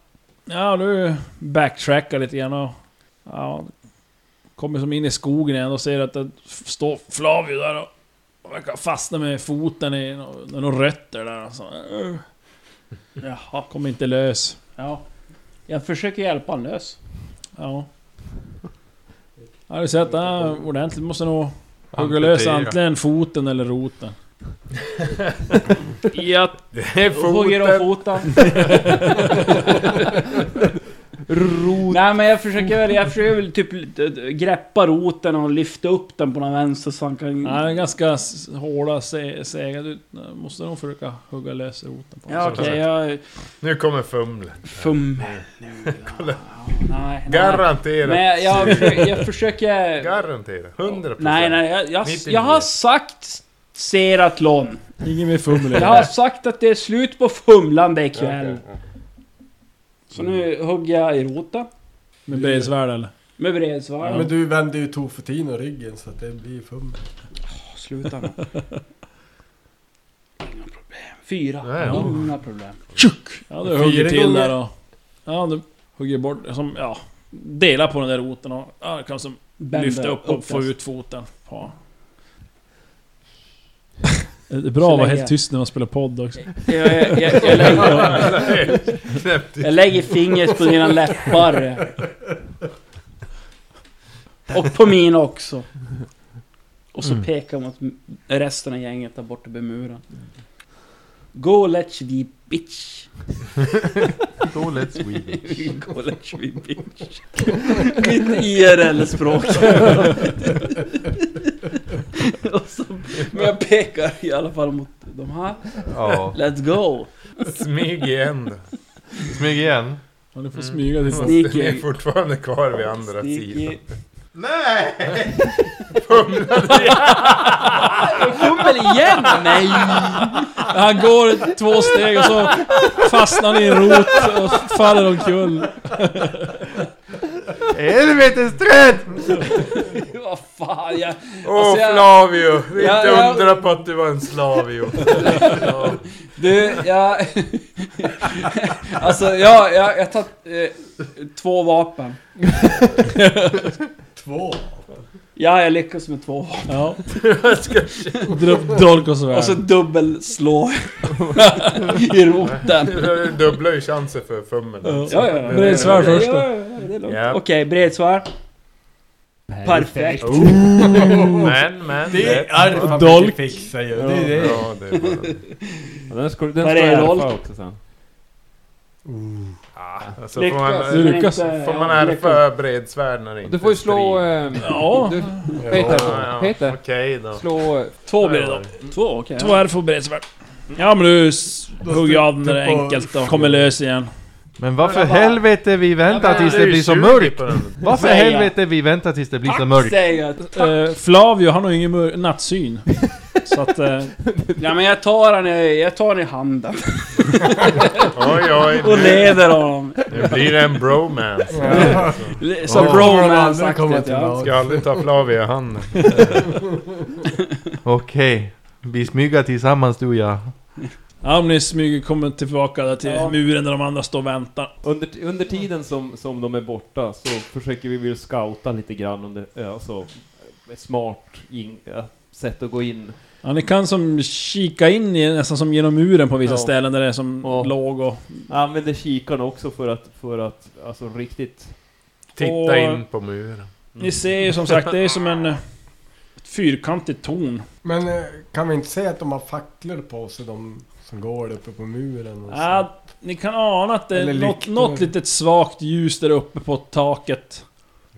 [SPEAKER 4] Ja, du backtrackar lite grann och... Ja, kommer som in i skogen igen och ser att det står Flavio där och... och verkar fastna med foten i nå- med några rötter där och så. "Ugh."
[SPEAKER 6] Jaha.
[SPEAKER 4] Kommer inte lös.
[SPEAKER 6] Ja. Jag försöker hjälpa honom lös.
[SPEAKER 4] Ja. Ja, du ser att han ordentligt måste nog hugga lös antingen foten eller roten.
[SPEAKER 6] Jag
[SPEAKER 1] Det är
[SPEAKER 6] hugger av
[SPEAKER 1] foten.
[SPEAKER 6] foten. Nej men jag försöker väl, jag försöker väl typ lite- greppa roten och lyfta upp den på någon vänster så han kan...
[SPEAKER 4] Nej, den är ganska s- hårda, se- sega. Du måste nog försöka hugga lös roten på den.
[SPEAKER 6] Ja okej, jag...
[SPEAKER 1] Nu kommer fumlet.
[SPEAKER 6] Fum... Kolla. Nej, nej.
[SPEAKER 1] Garanterat.
[SPEAKER 6] Men jag, jag, försöker, jag försöker...
[SPEAKER 1] Garanterat. 100%.
[SPEAKER 6] Nej, nej, jag, jag,
[SPEAKER 1] 99.
[SPEAKER 6] jag har sagt Seratlon.
[SPEAKER 4] Ingen mer fummel i
[SPEAKER 6] Jag
[SPEAKER 4] det.
[SPEAKER 6] har sagt att det är slut på fumlande ikväll.
[SPEAKER 1] Okej, ja.
[SPEAKER 6] Så nu hugger jag i roten.
[SPEAKER 4] Med bredsvärd eller?
[SPEAKER 6] Med bredsvärd.
[SPEAKER 5] Men du vänder ju Tofutino ryggen så att det blir fummel.
[SPEAKER 6] Sluta nu. Inga problem. Fyra.
[SPEAKER 1] Nej, ja.
[SPEAKER 6] Inga problem.
[SPEAKER 4] Ja, du hugger
[SPEAKER 5] Fyra
[SPEAKER 4] till
[SPEAKER 5] gånger.
[SPEAKER 4] där och... Ja, du hugger bort... Som, ja, delar på den där roten och ja, kan som
[SPEAKER 6] Bänder
[SPEAKER 4] lyfta upp och få
[SPEAKER 6] den.
[SPEAKER 4] ut foten. Ja. Det är bra att vara helt tyst när man spelar podd också.
[SPEAKER 6] Jag, jag, jag, jag, lägger, jag lägger fingret på dina läppar. Och på mina också. Och så pekar jag mot resten av gänget där borta vid muren. Go let's be bitch.
[SPEAKER 7] Go let's Swedish.
[SPEAKER 6] Go let's be bitch. Mitt IRL-språk. Och så, men jag pekar i alla fall mot de här.
[SPEAKER 7] Ja.
[SPEAKER 6] Let's go.
[SPEAKER 1] Smyg igen då.
[SPEAKER 7] Smyg igen.
[SPEAKER 4] Ja, du får smyga till
[SPEAKER 6] Sneaky.
[SPEAKER 1] Ni är fortfarande kvar vid andra
[SPEAKER 6] Sneaky.
[SPEAKER 1] sidan.
[SPEAKER 6] Fummel igen? Nej!
[SPEAKER 4] Han går två steg och så fastnar han i en rot och faller omkull.
[SPEAKER 7] Helvetes träd!
[SPEAKER 6] Vad fan, jag...
[SPEAKER 1] Åh
[SPEAKER 6] Alltså, jag-
[SPEAKER 1] Flavio! Det är
[SPEAKER 6] Ja,
[SPEAKER 1] inte
[SPEAKER 6] ja.
[SPEAKER 1] undra på att du var en Slavio. Ja.
[SPEAKER 6] Du, jag... alltså, jag, jag, jag tar eh, två vapen.
[SPEAKER 5] Två!
[SPEAKER 6] Ja, jag lyckas med två vapen.
[SPEAKER 4] Ja. Dra upp dolk och sådär.
[SPEAKER 6] Och så dubbelslå i roten.
[SPEAKER 1] Det dubblar ju chansen för fummen. alltså.
[SPEAKER 6] Ja, ja, ja.
[SPEAKER 4] Bredsvärd först då.
[SPEAKER 6] Ja, ja, ja, det är lugnt.
[SPEAKER 1] Ja.
[SPEAKER 6] Okej, bredsvärd. Perfekt.
[SPEAKER 1] Men, men.
[SPEAKER 5] Det är fan
[SPEAKER 4] Dolk.
[SPEAKER 5] mycket fix säger jag. Det är det.
[SPEAKER 1] Ja, det är bara...
[SPEAKER 9] Ja, den ska, den
[SPEAKER 6] Vad
[SPEAKER 9] ska
[SPEAKER 6] är
[SPEAKER 9] jag
[SPEAKER 6] roll?
[SPEAKER 9] ärva också sen.
[SPEAKER 6] Mm.
[SPEAKER 1] Ja, alltså får man,
[SPEAKER 6] Lyckas.
[SPEAKER 4] Du
[SPEAKER 6] men
[SPEAKER 4] lyckas.
[SPEAKER 6] inte-
[SPEAKER 1] får man
[SPEAKER 6] ja, lyckas.
[SPEAKER 1] ärva bredsvärd när det
[SPEAKER 2] Du
[SPEAKER 1] inte
[SPEAKER 2] får ju
[SPEAKER 1] är
[SPEAKER 2] slå...
[SPEAKER 1] strid?
[SPEAKER 9] ehm,
[SPEAKER 2] Eh,
[SPEAKER 4] Ja.
[SPEAKER 2] du,
[SPEAKER 1] Ja,
[SPEAKER 2] Peter,
[SPEAKER 1] ja,
[SPEAKER 2] Peter.
[SPEAKER 1] Okej då.
[SPEAKER 2] Slå...
[SPEAKER 4] Två blir det då.
[SPEAKER 6] Två, okej.
[SPEAKER 4] Två är för bredsvärd. Ja men du s- hugger av den där
[SPEAKER 5] Då står-
[SPEAKER 4] enkelt och kommer lös igen.
[SPEAKER 7] Men varför helvete vi väntar tills det blir så mörkt? Varför
[SPEAKER 6] Säga.
[SPEAKER 7] helvete vi väntar tills det blir så mörkt?
[SPEAKER 6] Säger jag.
[SPEAKER 4] Eh, Flavio han har ju ingen mör- nattsyn. Så att... Eh,
[SPEAKER 6] Ja, men jag tar han i, jag tar han i handen.
[SPEAKER 1] Oj, oj.
[SPEAKER 6] Och
[SPEAKER 1] Nu,
[SPEAKER 6] leder honom.
[SPEAKER 1] nu blir det en bromance.
[SPEAKER 6] Som
[SPEAKER 5] Ja.
[SPEAKER 6] bromance
[SPEAKER 5] Kommer
[SPEAKER 6] ja.
[SPEAKER 5] tillbaka.
[SPEAKER 1] Ska aldrig ta Flavio i handen.
[SPEAKER 7] Okej. Vi smyger tillsammans du och jag.
[SPEAKER 4] ja men ni smyger kommer tillbaka där till
[SPEAKER 2] Ja.
[SPEAKER 4] muren där de andra står och väntar.
[SPEAKER 9] Under, under tiden som, som de är borta så försöker vi väl scouta lite grann om det, eh, alltså, ett smart in, eh, sätt att gå in.
[SPEAKER 4] Ja ni kan som kika in i, nästan som genom muren på vissa
[SPEAKER 9] Ja.
[SPEAKER 4] ställen där det är som
[SPEAKER 9] Ja.
[SPEAKER 4] låg och...
[SPEAKER 9] Använder kikaren också för att, för att, alltså riktigt...
[SPEAKER 1] Titta in på muren.
[SPEAKER 4] Ni ser ju som sagt, det är som en... eh, Ett fyrkantigt torn.
[SPEAKER 5] Men eh, kan vi inte säga att de har facklor på sig de som går uppe på muren? Och så?
[SPEAKER 4] Ja,
[SPEAKER 1] Alltså.
[SPEAKER 4] ni kan ana att det är
[SPEAKER 5] Eller
[SPEAKER 4] något,
[SPEAKER 5] lyktor.
[SPEAKER 4] något litet svagt ljus där uppe på taket.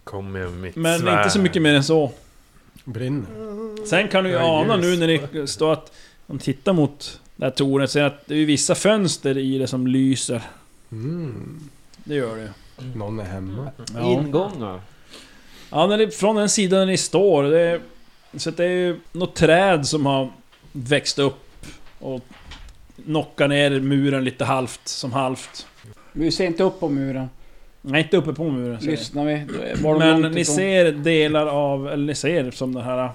[SPEAKER 1] Kom med mitt
[SPEAKER 4] Men
[SPEAKER 1] svärd.
[SPEAKER 4] inte så mycket mer än så.
[SPEAKER 5] Brinner.
[SPEAKER 4] Sen kan du ju
[SPEAKER 1] Ja,
[SPEAKER 4] ana nu
[SPEAKER 1] ljus.
[SPEAKER 4] när ni står att... De tittar mot det här tornet, ser att det är ju vissa fönster i det som lyser.
[SPEAKER 5] Mm.
[SPEAKER 4] Det gör det ju.
[SPEAKER 5] Någon är hemma.
[SPEAKER 4] Ja.
[SPEAKER 9] Ingångar.
[SPEAKER 4] ja, när det, från den sidan ni står. Det är, så att det är ju något träd som har växt upp och knockat ner muren lite halvt, som halvt.
[SPEAKER 6] Vi ser inte upp på muren.
[SPEAKER 4] Nej, inte uppe på muren. säger jag.
[SPEAKER 6] Lyssnar vi. Då är- var de
[SPEAKER 4] Men
[SPEAKER 6] långt
[SPEAKER 4] ni
[SPEAKER 6] ifrån?
[SPEAKER 4] ser delar av, eller ni ser som det här äh,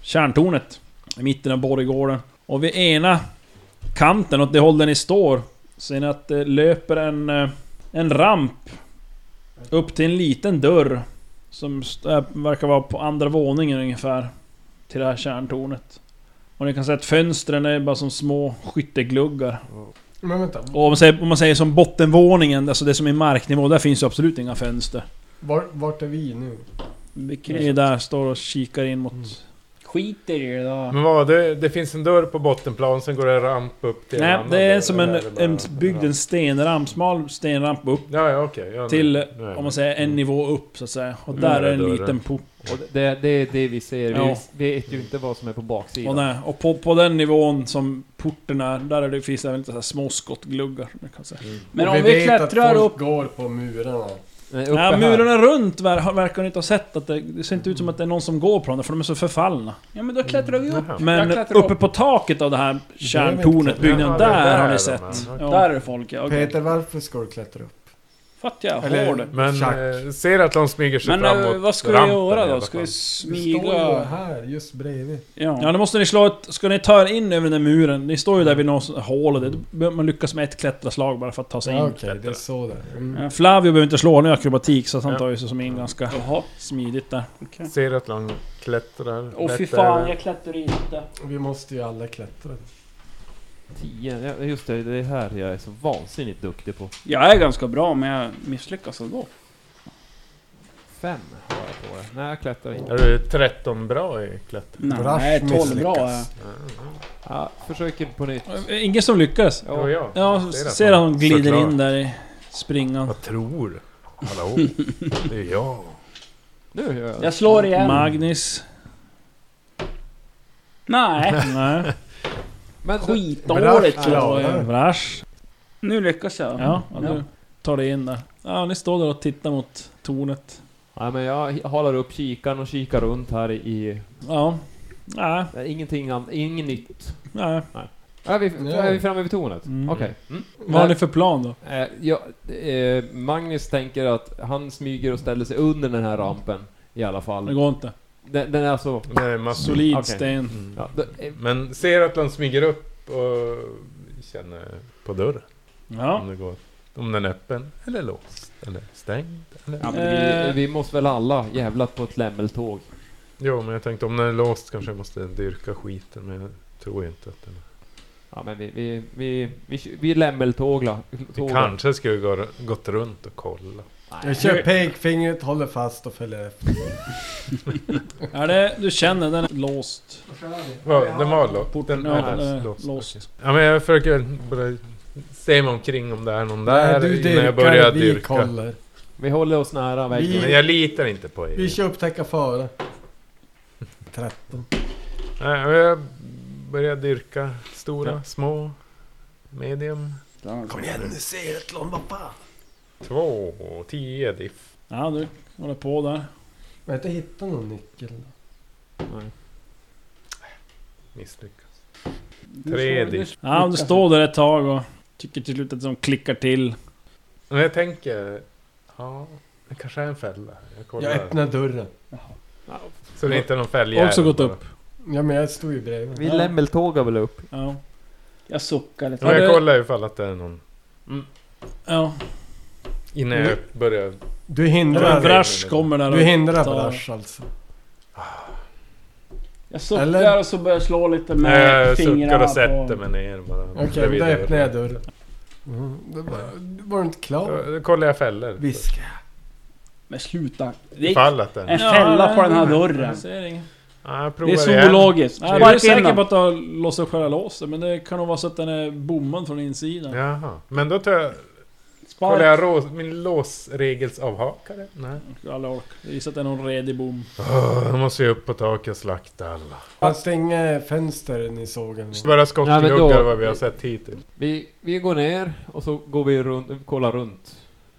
[SPEAKER 4] kärntornet i mitten av borggården. Och vid ena kanten, åt det håll där ni står, ser ni att det löper en, eh, en ramp upp till en liten dörr. Som st- äh, verkar vara på andra våningen ungefär. Till det här kärntornet. Och ni kan se att fönstren är bara som små skyttegluggar.
[SPEAKER 5] Men vänta.
[SPEAKER 4] Och om man säger, om man säger som bottenvåningen, alltså det som är marknivå, där finns ju absolut inga fönster.
[SPEAKER 5] Var, vart är vi nu?
[SPEAKER 1] Mm.
[SPEAKER 4] Ni där står och kikar in mot
[SPEAKER 6] skiter i det då.
[SPEAKER 1] Men vad, det, det finns en dörr på bottenplan, sen går det en ramp upp till en
[SPEAKER 4] Nej,
[SPEAKER 1] annan
[SPEAKER 4] det är
[SPEAKER 1] dörr,
[SPEAKER 4] som
[SPEAKER 1] eller
[SPEAKER 4] en,
[SPEAKER 1] är det bara-
[SPEAKER 4] en byggd en stenramp, smal stenramp upp
[SPEAKER 1] Ja, ja, okej. ja, nu-
[SPEAKER 4] till,
[SPEAKER 1] nu är det.
[SPEAKER 4] om man säger, en nivå upp så att säga. Och
[SPEAKER 1] Mm.
[SPEAKER 4] där är en
[SPEAKER 1] Dörren.
[SPEAKER 4] liten port.
[SPEAKER 2] Och det, det är det vi ser.
[SPEAKER 4] Ja.
[SPEAKER 2] Vi vet ju inte vad som är på
[SPEAKER 4] Och,
[SPEAKER 2] baksidan.
[SPEAKER 4] nej, och på, på den nivån som porten är, där är det, finns det även lite så här små skottgluggar. som man Kan säga.
[SPEAKER 1] Mm.
[SPEAKER 6] Men
[SPEAKER 5] Och
[SPEAKER 6] om vi
[SPEAKER 5] vet att
[SPEAKER 6] klättrar
[SPEAKER 5] folk
[SPEAKER 6] upp...
[SPEAKER 5] går på murarna.
[SPEAKER 2] Nej, uppe
[SPEAKER 4] Nej,
[SPEAKER 2] här.
[SPEAKER 4] murarna runt ver har- verkar ni inte ha sett. Att det, det ser inte ut som att det är någon som går på dem, för de är så förfallna.
[SPEAKER 6] Ja men då klättrar vi upp. Jag
[SPEAKER 4] Men
[SPEAKER 6] klättrar upp.
[SPEAKER 4] uppe på taket av det här kärntornet,
[SPEAKER 5] klättra.
[SPEAKER 4] byggnaden,
[SPEAKER 1] Jaha, det är
[SPEAKER 4] där
[SPEAKER 1] där
[SPEAKER 4] har ni
[SPEAKER 1] de
[SPEAKER 4] sett.
[SPEAKER 1] är.
[SPEAKER 4] Ja.
[SPEAKER 6] Där är folk ja. okej.
[SPEAKER 5] Peter, varför ska du klättra upp?
[SPEAKER 6] Fatt jag
[SPEAKER 5] Eller-
[SPEAKER 6] hård.
[SPEAKER 1] Men
[SPEAKER 5] Tjack.
[SPEAKER 1] eh, ser att de smyger sig
[SPEAKER 6] Men
[SPEAKER 1] framåt
[SPEAKER 6] eh, vad ska vi
[SPEAKER 1] rampen
[SPEAKER 6] göra
[SPEAKER 1] i
[SPEAKER 6] då?
[SPEAKER 1] alla fall.
[SPEAKER 6] Ska vi
[SPEAKER 5] Du står ju
[SPEAKER 6] smyga?
[SPEAKER 5] här, just bredvid.
[SPEAKER 4] Ja,
[SPEAKER 6] Ja.
[SPEAKER 4] då måste ni slå ett... Ska ni ta er in över den där muren? Ni står ju där vid något sånt här hål och det, då behöver man lyckas med ett klättraslag bara för att ta sig
[SPEAKER 5] Ja,
[SPEAKER 4] in.
[SPEAKER 5] Okej, det är så där. Mm.
[SPEAKER 6] Ja.
[SPEAKER 4] Flavio behöver inte slå, nu är akrobatik så att han
[SPEAKER 1] Ja.
[SPEAKER 4] tar ju sig som in ganska
[SPEAKER 6] Jaha.
[SPEAKER 4] smidigt där.
[SPEAKER 1] Ser att de klättrar.
[SPEAKER 4] Oh.
[SPEAKER 6] Åh fy
[SPEAKER 1] lätt
[SPEAKER 6] fan,
[SPEAKER 1] över.
[SPEAKER 6] jag klättrar inte.
[SPEAKER 5] Vi måste ju alla klättra.
[SPEAKER 2] Tio, ja, just det, det är här jag är så vansinnigt duktig på.
[SPEAKER 6] Jag är ganska bra men jag misslyckas ändå.
[SPEAKER 2] Fem har jag på det. Nej, jag klättrar inte.
[SPEAKER 1] Är du 13 bra i klättring?
[SPEAKER 4] Mm.
[SPEAKER 6] Nej,
[SPEAKER 5] Brash
[SPEAKER 6] jag är 12 bra. Jag.
[SPEAKER 5] misslyckas.
[SPEAKER 2] Ja, försöker på nytt.
[SPEAKER 4] Eh, Ingen som lyckades.
[SPEAKER 1] Ja, ja.
[SPEAKER 4] Ja, ser att hon glider in där i springan.
[SPEAKER 1] Jag tror. Hallå? Det är jag.
[SPEAKER 2] Nu gör jag det.
[SPEAKER 6] jag slår igen.
[SPEAKER 4] Magnus.
[SPEAKER 6] Nej,
[SPEAKER 4] Nej.
[SPEAKER 2] Men då,
[SPEAKER 6] skitdåligt.
[SPEAKER 5] Bra.
[SPEAKER 6] Ja.
[SPEAKER 4] Vrash.
[SPEAKER 6] Nu lyckas jag.
[SPEAKER 4] Ja, ja, du tar dig in där. Ja, ni står där och tittar mot tornet.
[SPEAKER 2] ja, men jag halar upp kikaren och kikar runt här i...
[SPEAKER 4] Ja. Nej,
[SPEAKER 2] Det är ingenting an, inget nytt.
[SPEAKER 4] nej.
[SPEAKER 2] Är vi,
[SPEAKER 5] Nej.
[SPEAKER 2] är vi framme vid tornet?
[SPEAKER 4] Mm.
[SPEAKER 2] Okej. Mm.
[SPEAKER 4] Vad har ni för plan då?
[SPEAKER 2] Eh, ja, eh, Magnus tänker att han smyger och ställer sig under den här rampen i alla
[SPEAKER 4] Det
[SPEAKER 2] fall.
[SPEAKER 4] går inte.
[SPEAKER 2] Den, den är så...
[SPEAKER 1] Det är massor.
[SPEAKER 4] Solid
[SPEAKER 2] Okej.
[SPEAKER 4] sten.
[SPEAKER 2] Ja, det, eh,
[SPEAKER 1] Mm. Men ser att de smyger upp och känner på dörren.
[SPEAKER 4] Ja.
[SPEAKER 1] Om, det går. om den är öppen eller låst. Eller stängd. Eller?
[SPEAKER 2] ja, men eh,
[SPEAKER 4] Eh,
[SPEAKER 2] vi, vi måste väl alla jävlat på ett lämmeltåg.
[SPEAKER 1] Jo, men jag tänkte om den är låst kanske jag måste dyrka skiten. Men jag tror inte att den...
[SPEAKER 2] Ja, men vi, vi, vi, vi, vi lämmeltåglar.
[SPEAKER 1] Vi kanske skulle gå, gått runt och kolla.
[SPEAKER 5] Jag kör pekfingret, håller fast och följer efter.
[SPEAKER 4] Är det, du känner den är låst.
[SPEAKER 1] Va, den var låst? Den
[SPEAKER 4] Ja, den
[SPEAKER 1] är
[SPEAKER 4] är
[SPEAKER 1] låst.
[SPEAKER 4] låst.
[SPEAKER 1] okej. Ja, men jag försöker bara se mig omkring om det är någon
[SPEAKER 5] Nej,
[SPEAKER 1] där
[SPEAKER 5] du
[SPEAKER 1] innan jag
[SPEAKER 5] dyrkar,
[SPEAKER 1] börjar
[SPEAKER 5] vi
[SPEAKER 1] dyrka.
[SPEAKER 5] kollar.
[SPEAKER 2] Vi håller oss nära väggen.
[SPEAKER 1] Men jag litar inte på er.
[SPEAKER 5] Vi kör upptäcka före. 13.
[SPEAKER 1] Nej, men jag börjar dyrka stora, små, medium.
[SPEAKER 5] Kom igen nu, Setlon, vad fan!
[SPEAKER 1] Två, tio diff.
[SPEAKER 4] Ja, du håller på där.
[SPEAKER 5] Jag har inte hittat någon nyckel.
[SPEAKER 1] Misslyckas.
[SPEAKER 6] slår-
[SPEAKER 1] Tre
[SPEAKER 6] du
[SPEAKER 1] diff.
[SPEAKER 4] Ja, du står där ett tag och tycker till slut att de klickar till.
[SPEAKER 1] Men jag tänker, ja, det kanske är en fälla. Jag kollar.
[SPEAKER 5] Jag öppnar dörren.
[SPEAKER 1] Så det är inte någon fälgjävel.
[SPEAKER 4] Också gått
[SPEAKER 1] bara.
[SPEAKER 4] upp.
[SPEAKER 5] Ja, men jag stod ju bredvid.
[SPEAKER 2] Vi lämmeltågar väl upp.
[SPEAKER 4] Ja.
[SPEAKER 6] Jag suckar lite.
[SPEAKER 1] Ja, men
[SPEAKER 4] Ja,
[SPEAKER 1] jag
[SPEAKER 4] det- Mm.
[SPEAKER 1] kollar ifall att det är någon.
[SPEAKER 4] Ja.
[SPEAKER 1] Innan jag börjar.
[SPEAKER 5] Du
[SPEAKER 4] En
[SPEAKER 5] hindrar...
[SPEAKER 4] vrash kommer där
[SPEAKER 5] Du
[SPEAKER 4] och...
[SPEAKER 5] hindrar
[SPEAKER 4] Ta-
[SPEAKER 5] Brash alltså.
[SPEAKER 6] Jag suckar
[SPEAKER 5] Eller-
[SPEAKER 6] och så börjar jag slå lite med
[SPEAKER 1] Jag suckar
[SPEAKER 6] fingrarna
[SPEAKER 1] och sätter
[SPEAKER 6] på...
[SPEAKER 1] mig ner bara.
[SPEAKER 4] Mm.
[SPEAKER 5] Okej, men
[SPEAKER 1] bredvid
[SPEAKER 5] då öppnar jag
[SPEAKER 1] dörren.
[SPEAKER 5] dörren. Mm. Då var, då var du inte klar?
[SPEAKER 1] Då- Då kollar jag fällor.
[SPEAKER 5] Viska.
[SPEAKER 6] Men sluta. Det är
[SPEAKER 1] Ifall att den...
[SPEAKER 6] en
[SPEAKER 1] Nej,
[SPEAKER 6] fälla på den här dörren.
[SPEAKER 4] Jag ser inget.
[SPEAKER 1] jag provar
[SPEAKER 6] Det är så
[SPEAKER 1] igen.
[SPEAKER 6] ologiskt.
[SPEAKER 4] Nej, du är
[SPEAKER 6] Sparka in
[SPEAKER 4] säker på
[SPEAKER 6] den.
[SPEAKER 4] att du har låst upp själva låset, men det kan nog vara så att den är bommad från insidan.
[SPEAKER 1] Jaha. Men då tar jag... Kollar
[SPEAKER 6] Spark.
[SPEAKER 1] jag rå, min låsregelsavhakare? Nej.
[SPEAKER 4] Jag skulle aldrig orka. Jag gissar att det är någon redig bom.
[SPEAKER 1] Oh, jag måste ju upp på taket och slakta alla.
[SPEAKER 5] Han stänger fönstren i sågen.
[SPEAKER 1] Bara
[SPEAKER 2] Nej, men då-
[SPEAKER 1] skottgluggar vad vi har sett hittills.
[SPEAKER 2] Vi, vi går ner och så går vi runt, kollar runt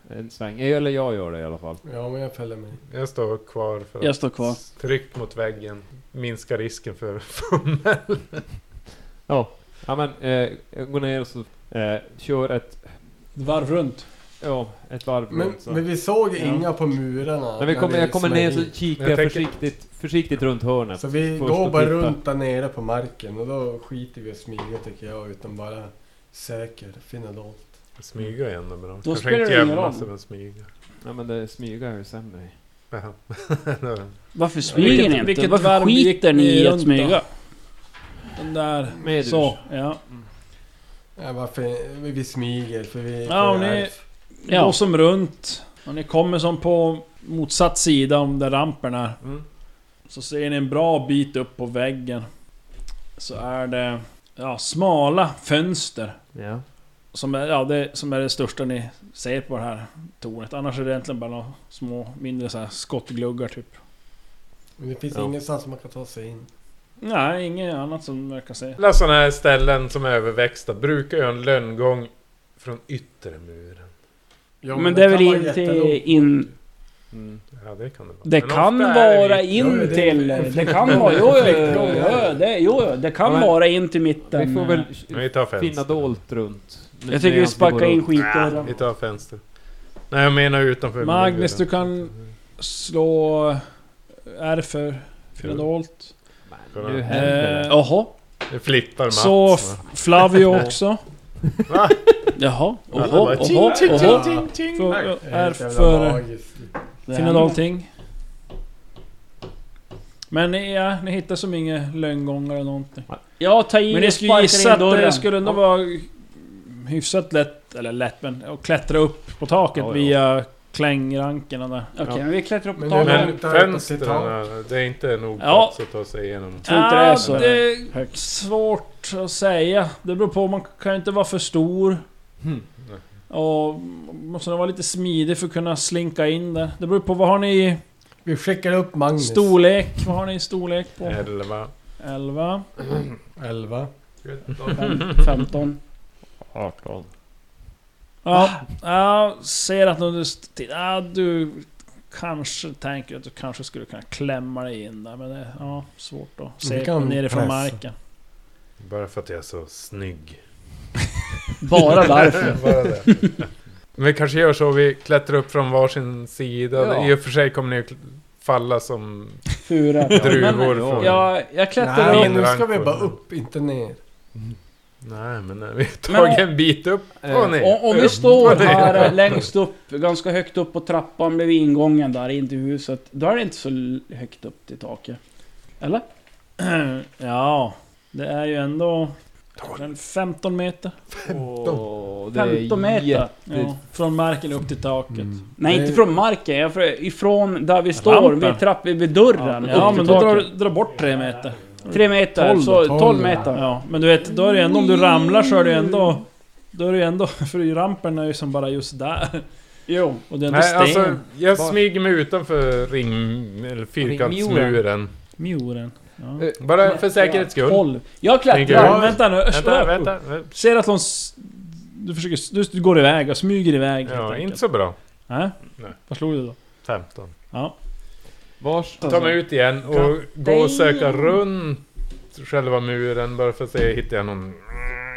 [SPEAKER 2] en sväng. Eh, Eller jag gör det i alla fall.
[SPEAKER 5] Ja, men jag fäller mig.
[SPEAKER 1] Jag står kvar för att
[SPEAKER 6] Jag står kvar.
[SPEAKER 1] tryckt mot väggen. Minska risken för...
[SPEAKER 2] Ja, ja men eh, jag går ner och så eh, kör ett,
[SPEAKER 4] Varv runt.
[SPEAKER 2] ja, ett varv
[SPEAKER 5] Men,
[SPEAKER 2] runt. Så.
[SPEAKER 5] men vi såg inga på murarna.
[SPEAKER 2] När vi kommer,
[SPEAKER 5] när vi
[SPEAKER 2] jag kommer ner
[SPEAKER 5] smög
[SPEAKER 2] så
[SPEAKER 5] in.
[SPEAKER 2] kikar
[SPEAKER 1] Men
[SPEAKER 2] jag
[SPEAKER 1] jag tänker-
[SPEAKER 2] försiktigt, försiktigt runt hörnet.
[SPEAKER 5] Så vi
[SPEAKER 2] Först
[SPEAKER 5] går
[SPEAKER 2] och
[SPEAKER 5] bara
[SPEAKER 2] titta.
[SPEAKER 5] runt där nere på marken och då skiter vi och smyger tycker jag utan bara söker, finner dolt.
[SPEAKER 1] smyga är ändå bra.
[SPEAKER 6] spelar det ingen roll.
[SPEAKER 1] sig men smyga.
[SPEAKER 2] Ja men det smyga är ju sämre.
[SPEAKER 1] Jaha. Då-
[SPEAKER 6] Varför smyger ni inte?
[SPEAKER 4] vilket
[SPEAKER 6] Varför
[SPEAKER 4] varv gick
[SPEAKER 6] skiter ni i
[SPEAKER 4] ni
[SPEAKER 6] att
[SPEAKER 4] runt
[SPEAKER 6] smyga?
[SPEAKER 4] Den där...
[SPEAKER 2] Med
[SPEAKER 4] Så, ja.
[SPEAKER 5] Ja, varför? Vi vi smyger för vi...
[SPEAKER 4] Ja,
[SPEAKER 5] för
[SPEAKER 4] och ni-
[SPEAKER 5] allt.
[SPEAKER 4] Ni går som runt. Och ni kommer som på motsatt sida om där rampen är.
[SPEAKER 2] Mm.
[SPEAKER 4] Så ser ni en bra bit upp på väggen. Så är det ja, smala fönster.
[SPEAKER 9] Ja.
[SPEAKER 4] Som är, ja, det, som är det största ni ser på det här tornet. Annars är det egentligen bara några små mindre så här skottgluggar typ.
[SPEAKER 5] Men det finns
[SPEAKER 9] Ja.
[SPEAKER 5] ingenstans man kan ta sig in.
[SPEAKER 4] Nej, inget annat som verkar se.
[SPEAKER 1] Alla sådana här ställen som är överväxta brukar ju ha en lönngång från yttre muren.
[SPEAKER 5] Ja,
[SPEAKER 6] Men det är
[SPEAKER 5] kan
[SPEAKER 6] väl
[SPEAKER 5] vara
[SPEAKER 6] inte
[SPEAKER 5] jättelångt.
[SPEAKER 6] in-
[SPEAKER 1] Ja, det kan det vara.
[SPEAKER 6] Det
[SPEAKER 1] Men
[SPEAKER 6] kan
[SPEAKER 1] ofta är det
[SPEAKER 6] vara
[SPEAKER 1] ju-
[SPEAKER 5] Ja, det
[SPEAKER 6] in
[SPEAKER 5] är
[SPEAKER 6] till...
[SPEAKER 5] en
[SPEAKER 6] Det kan vara... Jo, jo, jo, jo, det, jo, jo, det kan
[SPEAKER 2] Ja, men-
[SPEAKER 6] vara in till mitten.
[SPEAKER 2] Vi får
[SPEAKER 5] eh,
[SPEAKER 2] väl
[SPEAKER 1] Men vi tar fönster.
[SPEAKER 2] finna dolt runt.
[SPEAKER 6] Jag tycker vi sparkar in
[SPEAKER 1] Ja,
[SPEAKER 6] skitdörren.
[SPEAKER 1] vi tar fönster. Nej, jag menar utanför
[SPEAKER 4] Magnus, du
[SPEAKER 1] muren.
[SPEAKER 4] kan slå R för
[SPEAKER 1] Kul.
[SPEAKER 4] Fyradolt.
[SPEAKER 1] Kolla.
[SPEAKER 9] Nu händer det.
[SPEAKER 4] Eh, Jaha.
[SPEAKER 1] Det flippar Mats.
[SPEAKER 4] Så
[SPEAKER 1] va?
[SPEAKER 4] F- Flavio också.
[SPEAKER 1] Va?
[SPEAKER 4] Jaha.
[SPEAKER 1] Ja, det
[SPEAKER 4] Oho,
[SPEAKER 1] var ting,
[SPEAKER 4] oho,
[SPEAKER 1] ting,
[SPEAKER 4] oho.
[SPEAKER 1] ting, ting,
[SPEAKER 4] För-
[SPEAKER 5] Det är
[SPEAKER 4] Är
[SPEAKER 5] helt jävla
[SPEAKER 4] för
[SPEAKER 5] magiskt.
[SPEAKER 4] finna allting. Men ni, ja, ni hittar som inga lönngångar eller någonting.
[SPEAKER 6] Jag tar i
[SPEAKER 4] Men ni
[SPEAKER 6] och
[SPEAKER 4] skulle gissa
[SPEAKER 6] sparkar
[SPEAKER 4] att
[SPEAKER 6] in
[SPEAKER 4] det
[SPEAKER 6] dörren.
[SPEAKER 4] skulle ändå vara hyfsat lätt, eller lätt men, att klättra upp på taket
[SPEAKER 9] Ja, ja.
[SPEAKER 4] via klängrankerna där.
[SPEAKER 6] Okej, men vi klättrar upp på
[SPEAKER 5] Men
[SPEAKER 6] taket.
[SPEAKER 5] nu-
[SPEAKER 1] Men
[SPEAKER 5] Vänta, vänta,
[SPEAKER 1] fönstren,
[SPEAKER 5] titta.
[SPEAKER 1] det är inte nog
[SPEAKER 4] Ja.
[SPEAKER 1] plats att ta sig igenom.
[SPEAKER 6] Tror inte det är så.
[SPEAKER 4] det är svårt att säga. Det beror på, man kan ju inte vara för stor.
[SPEAKER 1] Hm.
[SPEAKER 4] Och måste nog vara lite smidig för att kunna slinka in där. Det beror på, vad har ni i
[SPEAKER 5] Vi skickar upp Magnus.
[SPEAKER 4] storlek? Vad har ni i storlek på?
[SPEAKER 1] Elva.
[SPEAKER 4] 11.
[SPEAKER 5] 11.
[SPEAKER 6] Fem- 15.
[SPEAKER 9] 18.
[SPEAKER 4] Ja, jag ser att du... st- Ja, du kanske tänker att du kanske skulle kunna klämma dig in där, men det är ja, svårt att
[SPEAKER 5] Vi
[SPEAKER 4] se
[SPEAKER 5] kan
[SPEAKER 4] nerifrån
[SPEAKER 5] pressa.
[SPEAKER 4] marken.
[SPEAKER 1] Bara för att jag är så snygg.
[SPEAKER 6] Bara därför.
[SPEAKER 1] Bara det. Men vi kanske gör så, vi klättrar upp från varsin sida.
[SPEAKER 9] Ja.
[SPEAKER 1] I och för sig kommer ni att kl- falla som
[SPEAKER 6] Fura.
[SPEAKER 1] druvor. från-
[SPEAKER 6] Jag, jag klättrar
[SPEAKER 5] Nej,
[SPEAKER 6] upp.
[SPEAKER 5] nu ska
[SPEAKER 1] Rankor.
[SPEAKER 5] vi bara upp, inte ner.
[SPEAKER 1] Nej, men nej, vi tar
[SPEAKER 6] Men-
[SPEAKER 1] en bit upp och ner.
[SPEAKER 6] Om, om vi
[SPEAKER 1] Upp
[SPEAKER 6] står
[SPEAKER 1] och ner.
[SPEAKER 6] här eh, längst upp, ganska högt upp på trappan bredvid ingången där in till huset. Då är det inte så l- högt upp till taket. Eller?
[SPEAKER 4] Ja, det är ju ändå... en 15 meter.
[SPEAKER 9] Åh, det är
[SPEAKER 6] 15 meter.
[SPEAKER 4] Ja, från marken upp till taket.
[SPEAKER 6] Nej,
[SPEAKER 5] Det-
[SPEAKER 6] inte från marken. Jag frå- ifrån där vi står,
[SPEAKER 4] Rampen.
[SPEAKER 6] vid, trapp, vid dörren.
[SPEAKER 4] Ja,
[SPEAKER 6] upp
[SPEAKER 4] men
[SPEAKER 6] till
[SPEAKER 4] då drar,
[SPEAKER 6] taket.
[SPEAKER 4] dra bort tre meter.
[SPEAKER 6] Tre meter,
[SPEAKER 5] Tolv
[SPEAKER 6] så
[SPEAKER 5] då, tolv.
[SPEAKER 6] 12 meter.
[SPEAKER 4] Ja, men du vet, då är det ändå om du ramlar så är det ju ändå... Då är det ju ändå... För rampen är ju som bara just där.
[SPEAKER 6] Jo.
[SPEAKER 4] Och det är ändå
[SPEAKER 1] Nej,
[SPEAKER 4] sten.
[SPEAKER 1] alltså jag
[SPEAKER 9] Bara-
[SPEAKER 1] smyger mig utanför ring... eller fyrkantsmuren.
[SPEAKER 4] Muren. Ja.
[SPEAKER 1] Eh, Bara för säkerhets skull.
[SPEAKER 6] Tolv. Jag
[SPEAKER 1] Tänker
[SPEAKER 6] klättrar.
[SPEAKER 1] jag.
[SPEAKER 4] Ja, vänta nu.
[SPEAKER 1] Vänta, vänta. vänta.
[SPEAKER 4] Seratlon... s- Du försöker... Du, du går iväg och smyger iväg helt
[SPEAKER 1] Ja,
[SPEAKER 4] enkelt.
[SPEAKER 1] inte så bra.
[SPEAKER 4] Nej.
[SPEAKER 1] Nej.
[SPEAKER 4] Vad slog du då?
[SPEAKER 1] 15.
[SPEAKER 9] Vars?
[SPEAKER 1] Ta mig ut igen och gå och söka runt själva muren bara för att se, hittar jag någon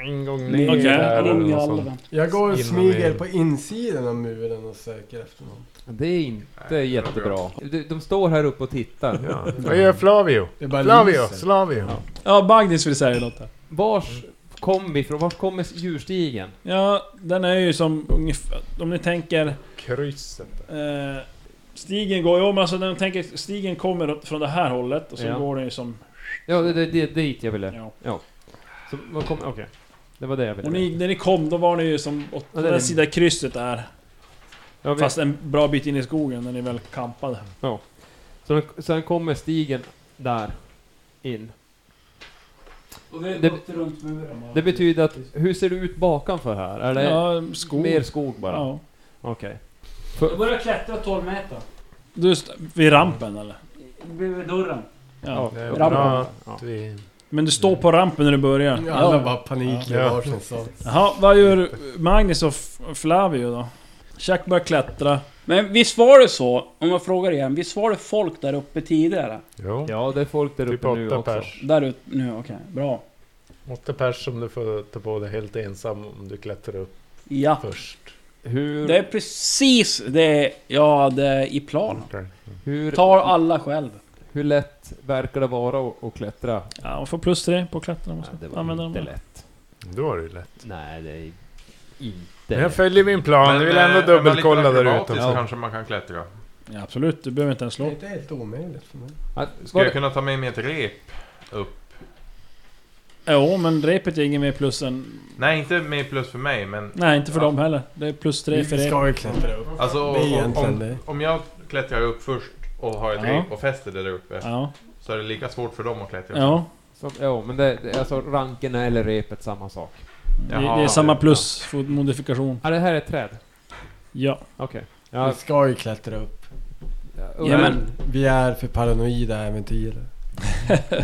[SPEAKER 1] ingång ner
[SPEAKER 4] Okej.
[SPEAKER 1] där eller
[SPEAKER 6] In i
[SPEAKER 1] något sånt.
[SPEAKER 6] alven.
[SPEAKER 5] Jag går och
[SPEAKER 1] Inom
[SPEAKER 5] smyger
[SPEAKER 1] er.
[SPEAKER 5] på insidan av muren och söker efter någon.
[SPEAKER 2] Det är inte jättebra. De, de står här uppe och tittar.
[SPEAKER 1] Ja. Vad gör Flavio?
[SPEAKER 5] Det är bara
[SPEAKER 1] Flavio,
[SPEAKER 5] lyser.
[SPEAKER 1] Flavio.
[SPEAKER 4] Ja, Bagdis vill säga något här.
[SPEAKER 2] Vars kom vi ifrån? Vars kommer djurstigen?
[SPEAKER 4] Ja, den är ju som ungefär... Om ni tänker...
[SPEAKER 1] Krysset.
[SPEAKER 4] Eh, stigen går... Jo men alltså när ni tänker... Stigen kommer upp från det här hållet och så
[SPEAKER 2] Ja.
[SPEAKER 4] går den ju som...
[SPEAKER 2] Ja, det är det, det, är dit jag ville.
[SPEAKER 4] Ja.
[SPEAKER 2] Så vad kom... Okej. Det var det jag ville.
[SPEAKER 4] Och ni, när ni kom, då var ni ju som åt
[SPEAKER 2] Ja, det är
[SPEAKER 4] den
[SPEAKER 2] det.
[SPEAKER 4] sidan krysset där.
[SPEAKER 2] ja, vi...
[SPEAKER 4] Fast en bra bit in i skogen när ni väl kampade.
[SPEAKER 2] så, den, så den kommer stigen där in. Det- Det betyder att, hur ser det ut bakanför här? Är det
[SPEAKER 4] Ja, skog.
[SPEAKER 2] mer skog bara?
[SPEAKER 4] Ja.
[SPEAKER 2] Okej.
[SPEAKER 6] Jag börjar klättra 12 meter.
[SPEAKER 4] Du, st- vid rampen eller?
[SPEAKER 6] Bredvid dörren.
[SPEAKER 4] Ja.
[SPEAKER 1] Det är
[SPEAKER 6] Rampen.
[SPEAKER 1] bra att vi...
[SPEAKER 4] Men du står på rampen när du börjar?
[SPEAKER 5] Alla bara panik i
[SPEAKER 1] Ja.
[SPEAKER 5] varsin sak.
[SPEAKER 4] Jaha, vad gör Magnus och F- Flavio då? Jack börjar klättra.
[SPEAKER 6] Men visst var det så, om jag frågar igen, visst var det folk där uppe tidigare?
[SPEAKER 1] Jo.
[SPEAKER 2] Ja, det är folk där
[SPEAKER 1] Typ
[SPEAKER 2] uppe nu
[SPEAKER 1] åtta
[SPEAKER 2] också.
[SPEAKER 1] pers.
[SPEAKER 6] Där ute, nu okej, bra.
[SPEAKER 1] Åtta pers som du får ta på dig helt ensam om du klättrar upp
[SPEAKER 6] Ja.
[SPEAKER 1] först.
[SPEAKER 2] Hur,
[SPEAKER 6] Det är precis det jag hade i planen.
[SPEAKER 2] hur,
[SPEAKER 6] Tar alla själv.
[SPEAKER 2] hur lätt verkar det vara att, att klättra?
[SPEAKER 4] Ja, han får plus tre på att klättra om man
[SPEAKER 2] Nej, det
[SPEAKER 4] ska
[SPEAKER 2] var
[SPEAKER 4] använda
[SPEAKER 2] inte
[SPEAKER 4] dem.
[SPEAKER 2] lätt.
[SPEAKER 1] Då är det ju lätt.
[SPEAKER 2] Nej, det är inte
[SPEAKER 1] Men jag
[SPEAKER 2] lätt.
[SPEAKER 1] följer min plan, jag vill
[SPEAKER 7] eh,
[SPEAKER 1] ändå dubbelkolla där ute.
[SPEAKER 7] Ja. kanske man kan klättra.
[SPEAKER 4] Ja, absolut, du behöver inte ens
[SPEAKER 5] Det är
[SPEAKER 4] slå.
[SPEAKER 5] inte helt omöjligt för mig.
[SPEAKER 2] Att-
[SPEAKER 7] Ska
[SPEAKER 2] var
[SPEAKER 7] jag
[SPEAKER 2] det-
[SPEAKER 7] kunna ta med mig ett rep upp?
[SPEAKER 4] Jo, men repet är ingen mer plus än...
[SPEAKER 7] Nej, inte med plus för mig, men...
[SPEAKER 4] Nej, inte för
[SPEAKER 7] Ja.
[SPEAKER 4] dem heller. Det är plus tre för
[SPEAKER 5] Vi
[SPEAKER 4] er.
[SPEAKER 5] ska ju klättra upp.
[SPEAKER 7] Alltså,
[SPEAKER 5] Det är
[SPEAKER 7] om,
[SPEAKER 5] egentligen
[SPEAKER 7] om,
[SPEAKER 5] det.
[SPEAKER 7] om jag klättrar upp först och har ett
[SPEAKER 4] Ja.
[SPEAKER 7] rep och fäster där uppe.
[SPEAKER 4] Ja.
[SPEAKER 7] Så är det lika svårt för dem att klättra.
[SPEAKER 4] ja.
[SPEAKER 2] Som, jo, men det, det, alltså ranken eller repet, samma sak.
[SPEAKER 4] Det,
[SPEAKER 7] Jaha,
[SPEAKER 4] det är samma
[SPEAKER 7] det-
[SPEAKER 4] plus för modifikation.
[SPEAKER 2] Ja, det här är ett träd.
[SPEAKER 4] Ja.
[SPEAKER 2] Okej.
[SPEAKER 5] Vi
[SPEAKER 2] Ja,
[SPEAKER 5] ska ju klättra upp.
[SPEAKER 2] ja, men,
[SPEAKER 6] men-
[SPEAKER 5] Vi är för paranoida äventyrare.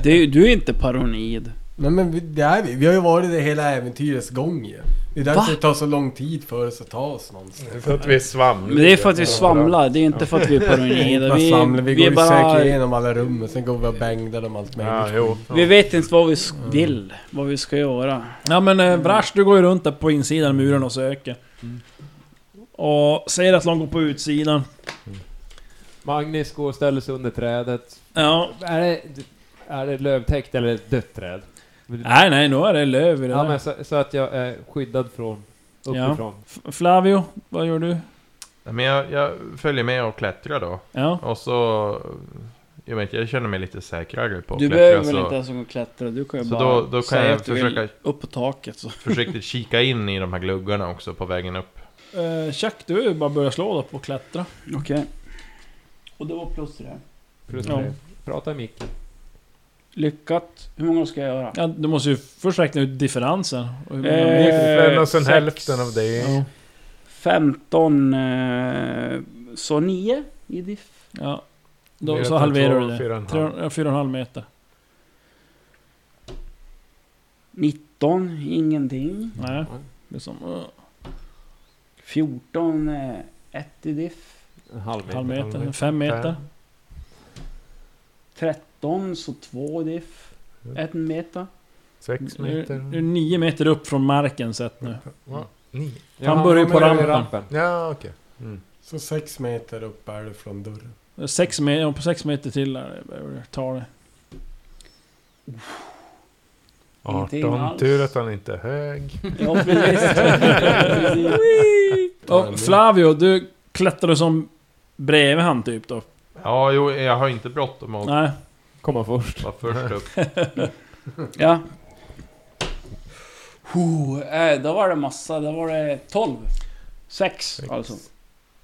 [SPEAKER 6] Det är, ju- du är inte paranoid.
[SPEAKER 5] Nej men vi, det är vi. Vi har ju varit det hela äventyrets gång ju. Det är därför
[SPEAKER 6] Va?
[SPEAKER 5] det tar så lång tid för oss att ta oss någonstans.
[SPEAKER 1] Det är För att vi är svamliga.
[SPEAKER 6] Men det är för att vi svamlar, det är inte för att vi är paranoida.
[SPEAKER 5] Vad
[SPEAKER 6] Vi,
[SPEAKER 5] samlar vi?
[SPEAKER 6] vi
[SPEAKER 5] går
[SPEAKER 6] är
[SPEAKER 5] ju säkert
[SPEAKER 6] bara...
[SPEAKER 5] igenom alla rum och sen går vi och bängdar dem allt möjligt.
[SPEAKER 1] Ja, jo.
[SPEAKER 6] Vi vet inte vad vi s- vill, vad vi ska göra.
[SPEAKER 4] Ja men eh, Vrash, du går ju runt där på insidan av muren och söker. Och säger att de går på utsidan.
[SPEAKER 2] Magnus går och ställer sig under trädet.
[SPEAKER 4] Ja.
[SPEAKER 2] Är det, är det lövtäckt eller ett dött träd?
[SPEAKER 4] Nej nej, nu är det löv i det
[SPEAKER 2] Ja,
[SPEAKER 4] där.
[SPEAKER 2] men så, så att jag är skyddad från uppifrån.
[SPEAKER 4] F- Flavio, vad gör du?
[SPEAKER 7] Ja, Men jag, jag följer med och klättrar då.
[SPEAKER 4] Ja.
[SPEAKER 7] Och så... Jag vet inte, jag känner mig lite säkrare på att
[SPEAKER 6] Du
[SPEAKER 7] klättra.
[SPEAKER 6] behöver väl
[SPEAKER 7] så
[SPEAKER 6] inte ens gå och klättra, du kan ju
[SPEAKER 7] Så
[SPEAKER 6] bara
[SPEAKER 7] då- då kan
[SPEAKER 6] säga
[SPEAKER 7] jag
[SPEAKER 6] att du vill
[SPEAKER 7] försöka-
[SPEAKER 6] upp på taket så.
[SPEAKER 7] försiktigt kika in i de här gluggarna också på vägen upp.
[SPEAKER 4] Eh, Chuck, du bara börjar slå då på klättra.
[SPEAKER 6] Okej. Och det var plus det här.
[SPEAKER 2] Plus
[SPEAKER 4] Ja.
[SPEAKER 2] tre. Prata i micken.
[SPEAKER 6] Lyckat. Hur många ska jag göra?
[SPEAKER 4] Ja, du måste ju först räkna ut differensen. Och hur många
[SPEAKER 6] Eh,
[SPEAKER 4] meter-
[SPEAKER 1] Hälften och sen
[SPEAKER 6] sex.
[SPEAKER 1] hälften av det.
[SPEAKER 4] ja.
[SPEAKER 6] 15... Eh, så 9 i diff.
[SPEAKER 4] ja. Då,
[SPEAKER 1] Fyra
[SPEAKER 4] så
[SPEAKER 1] till
[SPEAKER 4] halverar
[SPEAKER 1] två,
[SPEAKER 4] du det.
[SPEAKER 1] fyra och en halv.
[SPEAKER 4] 4,5 meter.
[SPEAKER 6] 19, ingenting.
[SPEAKER 4] Nej. Det är som... eh,
[SPEAKER 6] 14, eh, 1 i diff.
[SPEAKER 2] En halv meter.
[SPEAKER 4] halv meter,
[SPEAKER 1] meter.
[SPEAKER 4] fem meter.
[SPEAKER 6] 13, så 2 i diff. 1 meter.
[SPEAKER 1] Sex
[SPEAKER 4] Du är
[SPEAKER 1] meter.
[SPEAKER 4] nio meter upp från marken sett nu.
[SPEAKER 1] Va? Nio?
[SPEAKER 2] Ja,
[SPEAKER 4] Han börjar ju på
[SPEAKER 2] börjar i
[SPEAKER 4] rampen.
[SPEAKER 1] Ja, okej. Mm.
[SPEAKER 5] Så sex meter upp är du från dörren.
[SPEAKER 4] Sex meter, på sex meter till där behöver du ta det.
[SPEAKER 6] Ingenting
[SPEAKER 1] 18.
[SPEAKER 6] alls.
[SPEAKER 1] Tur att han inte är hög.
[SPEAKER 6] Ja, precis. Precis.
[SPEAKER 4] Och Flavio, du klättrar som bredvid han typ då?
[SPEAKER 7] Ja, jo, jag har inte bråttom att
[SPEAKER 4] Nej.
[SPEAKER 2] Komma först.
[SPEAKER 7] vara först upp.
[SPEAKER 6] Ja. Ho, eh, då var det massa, då var det 12. 6 alltså.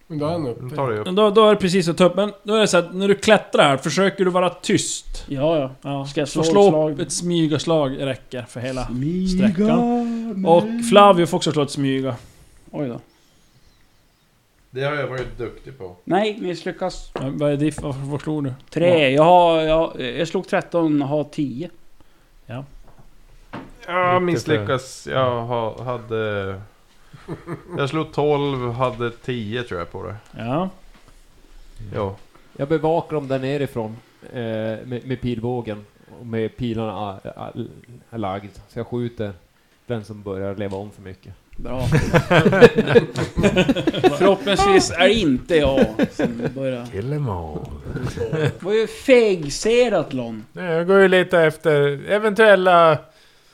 [SPEAKER 5] Men då är han
[SPEAKER 7] Då
[SPEAKER 1] Mm,
[SPEAKER 5] uppe.
[SPEAKER 7] tar du upp.
[SPEAKER 4] Men Då, då är det precis att ta upp, men då är det så att när du klättrar här, försöker du vara tyst.
[SPEAKER 6] Ja, ja.
[SPEAKER 4] Ja.
[SPEAKER 6] Ska jag
[SPEAKER 4] Så
[SPEAKER 6] slå
[SPEAKER 4] slå
[SPEAKER 6] ett slag?
[SPEAKER 4] ett smygaslag räcker för hela sträckan. Och Flavio får också slå ett smyga.
[SPEAKER 6] Oj då.
[SPEAKER 7] Det har jag varit duktig på.
[SPEAKER 6] Nej, misslyckas.
[SPEAKER 4] Ja, Vad är diff? Varför vad slog du?
[SPEAKER 6] Tre. Jag, har, jag, jag slog 13 och har 10.
[SPEAKER 7] Jag
[SPEAKER 1] Lite
[SPEAKER 7] misslyckas.
[SPEAKER 1] eh.
[SPEAKER 7] Jag ha- hade... Jag slog 12, hade 10 tror jag på det.
[SPEAKER 4] Ja.
[SPEAKER 7] Jo.
[SPEAKER 2] Jag bevakar dem där nerifrån eh, med, med pilbågen. Och med pilarna ah, ah, är lagd. Så jag skjuter den som börjar leva om för mycket.
[SPEAKER 6] Bra. Förhoppningsvis är det inte jag som börjar.
[SPEAKER 1] Kill em all.
[SPEAKER 6] Det var ju fegserat Lon.
[SPEAKER 1] Nej, Jag går ju leta efter eventuella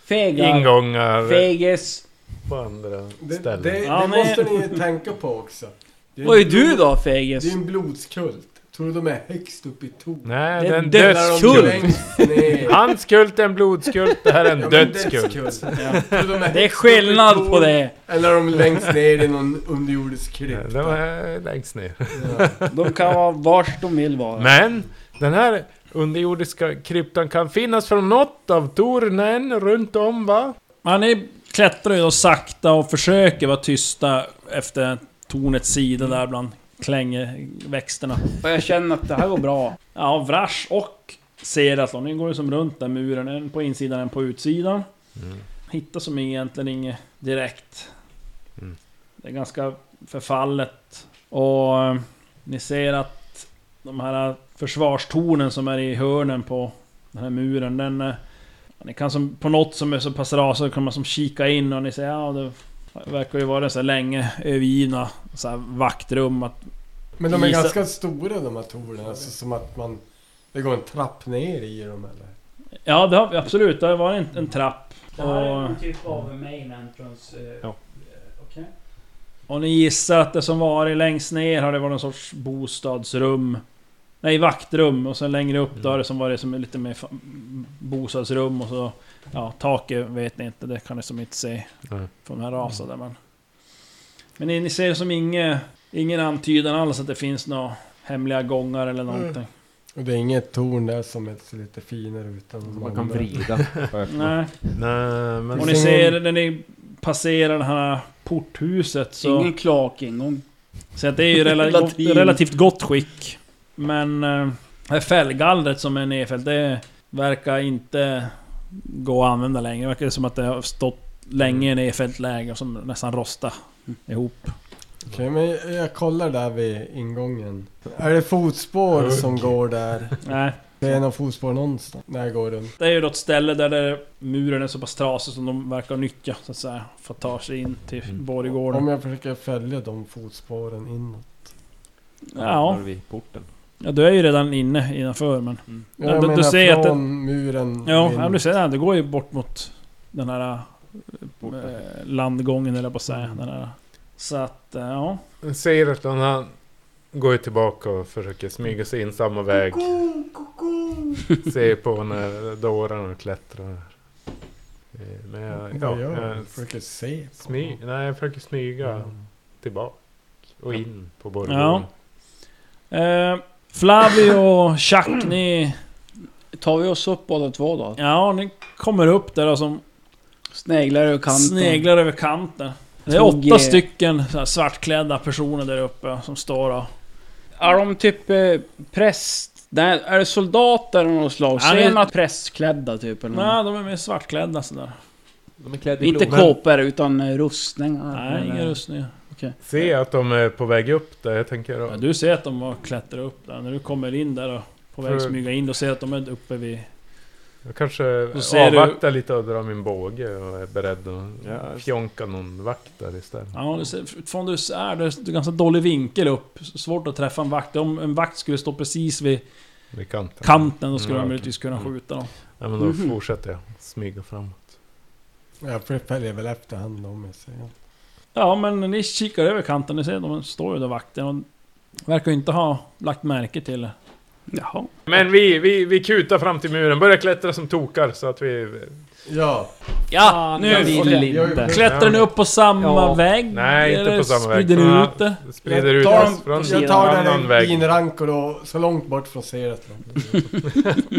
[SPEAKER 6] Fegar.
[SPEAKER 1] ingångar
[SPEAKER 6] Feges.
[SPEAKER 1] på andra
[SPEAKER 5] Det, det,
[SPEAKER 1] ställen.
[SPEAKER 5] det
[SPEAKER 4] Ja, men-
[SPEAKER 5] måste ni ju tänka på också. Det
[SPEAKER 6] Vad är
[SPEAKER 5] en
[SPEAKER 6] du
[SPEAKER 5] blod-
[SPEAKER 6] då
[SPEAKER 5] Det är
[SPEAKER 6] Feges?
[SPEAKER 5] en blodskult. Tror du de är högst upp i torn?
[SPEAKER 1] Nej,
[SPEAKER 6] Det
[SPEAKER 1] det är
[SPEAKER 6] är
[SPEAKER 1] en
[SPEAKER 6] död-
[SPEAKER 5] Där de
[SPEAKER 1] dödskult.
[SPEAKER 5] längst ner.
[SPEAKER 1] Hans kult är en blodskult, det här är en
[SPEAKER 5] Ja, men
[SPEAKER 1] dödskult.
[SPEAKER 5] dödskult. Tror du de
[SPEAKER 6] Det är
[SPEAKER 5] högst upp i
[SPEAKER 6] skillnad
[SPEAKER 5] torn?
[SPEAKER 6] på det.
[SPEAKER 5] Eller är de längst ner i någon underjordisk
[SPEAKER 1] Ja,
[SPEAKER 5] krypta?
[SPEAKER 1] De är längst ner.
[SPEAKER 6] De kan vara vars de vill vara.
[SPEAKER 1] Men den här underjordiska kryptan kan finnas från något av tornen runt om va?
[SPEAKER 4] Ja, ni klättrar ju då sakta och försöker vara tysta efter tornets sida där bland klängeväxterna.
[SPEAKER 6] Och jag känner att det här går bra.
[SPEAKER 4] Ja, Vrash och Seratlon, ni går ju som runt där muren, en på insidan, en på utsidan. Hittar som egentligen inget direkt.
[SPEAKER 1] Mm.
[SPEAKER 4] Det är ganska förfallet. Och eh, ni ser att de här försvarstornen som är i hörnen på den här muren, den... eh, Ni kan som, på något som är så pass rasigt kan man som kika in och ni ser ja, det verkar ju vara så här länge övergivna så här vaktrum att
[SPEAKER 5] Men de är
[SPEAKER 4] Gissa-
[SPEAKER 5] ganska stora de här tornen. Alltså som att man... Det går en trapp ner i dem eller?
[SPEAKER 4] Ja, det har vi absolut. Det har varit en, en trapp.
[SPEAKER 6] Det här är
[SPEAKER 4] Och,
[SPEAKER 6] någon typ av main entrance. eh,
[SPEAKER 2] Ja.
[SPEAKER 6] eh, Okej.
[SPEAKER 4] och ni gissar att det som varit längst ner har det varit någon sorts bostadsrum. Nej, vaktrum. Och sen längre upp då har det som varit som är lite mer fa- bostadsrum och så... Ja, taket vet ni inte. Det kan ni som inte se.
[SPEAKER 1] Nej.
[SPEAKER 4] Från den här rasade men... Men ni, ni ser som inge, ingen antydan alls att det finns något hemliga gångar eller någonting.
[SPEAKER 5] Och det är inget torn där som ser lite finare ut än
[SPEAKER 2] Man kan
[SPEAKER 5] andra.
[SPEAKER 2] vrida.
[SPEAKER 4] Nej.
[SPEAKER 7] Nej, men...
[SPEAKER 5] Mm.
[SPEAKER 4] Och ni ser när ni passerar det här porthuset så...
[SPEAKER 6] Ingen klakingång.
[SPEAKER 4] Så att det är ju rela gott,
[SPEAKER 6] Latin.
[SPEAKER 4] relativt gott skick. Men eh, det här fällgallret som är nedfällt, det verkar inte gå att använda längre. Det verkar som att det har stått länge i nedfällt läge och som nästan rosta ihop.
[SPEAKER 5] Okej, men jag kollar där vid ingången. Är det fotspår som går där?
[SPEAKER 4] Nej,
[SPEAKER 5] Det är någon fotspår någonstans. Där går den.
[SPEAKER 4] det är ju då ett ställe där det, muren är så pass trasig som de verkar nyttja så att säga. För att ta sig in till borggården.
[SPEAKER 5] Om jag försöker följa de fotspåren inåt.
[SPEAKER 4] Ja,
[SPEAKER 2] Där vid porten.
[SPEAKER 4] ja, du är ju redan inne innanför men... Ja,
[SPEAKER 5] Jag
[SPEAKER 4] du- du
[SPEAKER 5] menar
[SPEAKER 4] ser att
[SPEAKER 5] från
[SPEAKER 4] det-
[SPEAKER 5] muren.
[SPEAKER 4] Ja,
[SPEAKER 5] in.
[SPEAKER 4] ja du ser det. Det går ju bort mot den här
[SPEAKER 2] Porten.
[SPEAKER 4] eh, landgången eller på att säga. Den här. Så att, eh, ja.
[SPEAKER 7] Seratlon han går ju tillbaka och försöker smyga sig in samma väg. Ser på när dårarna klättrar. Eh, Men jag,
[SPEAKER 5] Vad
[SPEAKER 7] ja,
[SPEAKER 5] gör du?
[SPEAKER 7] jag,
[SPEAKER 5] Jag försöker se. på
[SPEAKER 7] smy, nej, jag försöker smyga tillbaka och in på borgen.
[SPEAKER 4] Ja. Eh, Flavio och Chuck, ni...
[SPEAKER 6] Tar vi oss upp båda två då?
[SPEAKER 4] Ja, ni kommer upp där och som
[SPEAKER 6] Sneglar över kanten.
[SPEAKER 4] sneglar över kanten. Det är
[SPEAKER 6] Tog, eh,
[SPEAKER 4] åtta stycken så här svartklädda personer där uppe som står och...
[SPEAKER 6] Är de typ eh, präst... Nej, är det soldater av något slag?
[SPEAKER 4] Ja, det-
[SPEAKER 6] Ser man att prästklädda typ eller något?
[SPEAKER 4] Nej, de är mer svartklädda sådär.
[SPEAKER 2] De är klädda i
[SPEAKER 6] Inte
[SPEAKER 2] blå.
[SPEAKER 6] kåpor utan eh, rustningar.
[SPEAKER 4] Nej, inga rustningar.
[SPEAKER 7] Se att de är på väg upp där. Jag tänker
[SPEAKER 4] Ja, du ser att de har klättrat upp där. När du kommer in där och på väg att
[SPEAKER 7] För-
[SPEAKER 4] smyga in, då ser du att de är uppe vid...
[SPEAKER 7] jag kanske
[SPEAKER 4] Då ser du-
[SPEAKER 7] avvaktar lite och drar min båge och är beredd att
[SPEAKER 10] Ja.
[SPEAKER 7] fjonka någon vakt där istället.
[SPEAKER 4] Ja, du ser, från du är det är ganska dålig vinkel upp. Svårt att träffa en vakt. Om en vakt skulle stå precis vid
[SPEAKER 7] Vid kanten.
[SPEAKER 4] kanten, då skulle de
[SPEAKER 7] Ja, Mm, okej.
[SPEAKER 4] möjligtvis kunna skjuta dem.
[SPEAKER 7] Ja, men då
[SPEAKER 6] Mhm.
[SPEAKER 7] fortsätter jag smyga framåt.
[SPEAKER 5] Jag följer väl efter han då om jag ser. honom.
[SPEAKER 4] Ja, men ni kikar över kanten, ni ser de står ju där vakten. Och verkar ju inte ha lagt märke till det.
[SPEAKER 6] Jaha.
[SPEAKER 7] Men vi, vi, vi kutar fram till muren, börjar klättra som tokar så att vi...
[SPEAKER 5] Ja,
[SPEAKER 4] Ja, nu!
[SPEAKER 5] jag
[SPEAKER 4] okej.
[SPEAKER 5] vill
[SPEAKER 2] Vill
[SPEAKER 5] jag-
[SPEAKER 2] inte.
[SPEAKER 4] Klättrar ni upp på samma
[SPEAKER 2] Ja.
[SPEAKER 4] vägg?
[SPEAKER 7] Nej, inte
[SPEAKER 4] Eller
[SPEAKER 7] på samma väg.
[SPEAKER 4] Sprider ni
[SPEAKER 7] Ja.
[SPEAKER 4] ut det?
[SPEAKER 7] Sprider ut
[SPEAKER 5] tar
[SPEAKER 7] oss
[SPEAKER 5] dem-
[SPEAKER 7] från
[SPEAKER 5] Jag
[SPEAKER 7] en
[SPEAKER 5] tar
[SPEAKER 7] annan
[SPEAKER 5] den där
[SPEAKER 7] väg.
[SPEAKER 5] vinranken och så långt bort från Seratlon.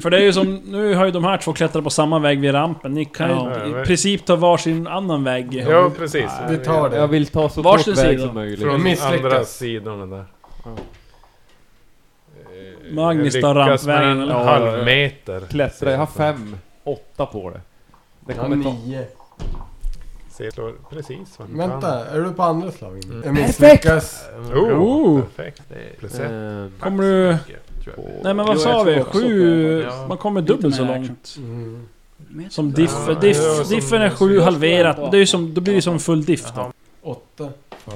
[SPEAKER 4] För det är ju som, nu har ju de här två klättrat på samma väg vid rampen. Ni kan
[SPEAKER 7] Ja,
[SPEAKER 4] ju i
[SPEAKER 7] men-
[SPEAKER 4] princip ta varsin annan väg.
[SPEAKER 7] Ja, precis.
[SPEAKER 5] Vi tar
[SPEAKER 2] Jag
[SPEAKER 5] det.
[SPEAKER 2] vill ta så
[SPEAKER 6] Varsin
[SPEAKER 2] kort väg
[SPEAKER 6] sida.
[SPEAKER 2] som möjligt.
[SPEAKER 7] Från
[SPEAKER 5] misslyckas.
[SPEAKER 7] andra sidan där.
[SPEAKER 2] Ja.
[SPEAKER 7] Eh,
[SPEAKER 4] Magnus
[SPEAKER 7] jag
[SPEAKER 4] tar
[SPEAKER 7] lyckas med
[SPEAKER 4] rampvägen,
[SPEAKER 7] en
[SPEAKER 4] eller?
[SPEAKER 7] halv meter.
[SPEAKER 2] Klättra, jag har fem, åtta på det. Det
[SPEAKER 5] Ja,
[SPEAKER 2] kommer ta...
[SPEAKER 5] nio.
[SPEAKER 7] Så jag slår precis vad han kan.
[SPEAKER 5] Vänta, är du på andra slag?
[SPEAKER 7] Mm.
[SPEAKER 5] Jag misslyckas.
[SPEAKER 7] Oh, perfekt. Plus ett.
[SPEAKER 2] Eh,
[SPEAKER 4] Kommer du...
[SPEAKER 7] tror jag.
[SPEAKER 4] Nej men vad
[SPEAKER 6] Jo,
[SPEAKER 4] sa
[SPEAKER 6] jag
[SPEAKER 4] vi?
[SPEAKER 6] tror också
[SPEAKER 4] Sju...
[SPEAKER 7] på det.
[SPEAKER 4] Man kommer dubbelt så
[SPEAKER 6] Lite mer
[SPEAKER 4] långt.
[SPEAKER 6] action.
[SPEAKER 5] Mm.
[SPEAKER 4] Som diff,
[SPEAKER 7] Ja,
[SPEAKER 4] diff,
[SPEAKER 7] ja, som-
[SPEAKER 4] diffen är sju
[SPEAKER 6] som-
[SPEAKER 4] halverat, det är ju som, då blir det som full diff då.
[SPEAKER 2] Eh,
[SPEAKER 5] Åtta. Ja.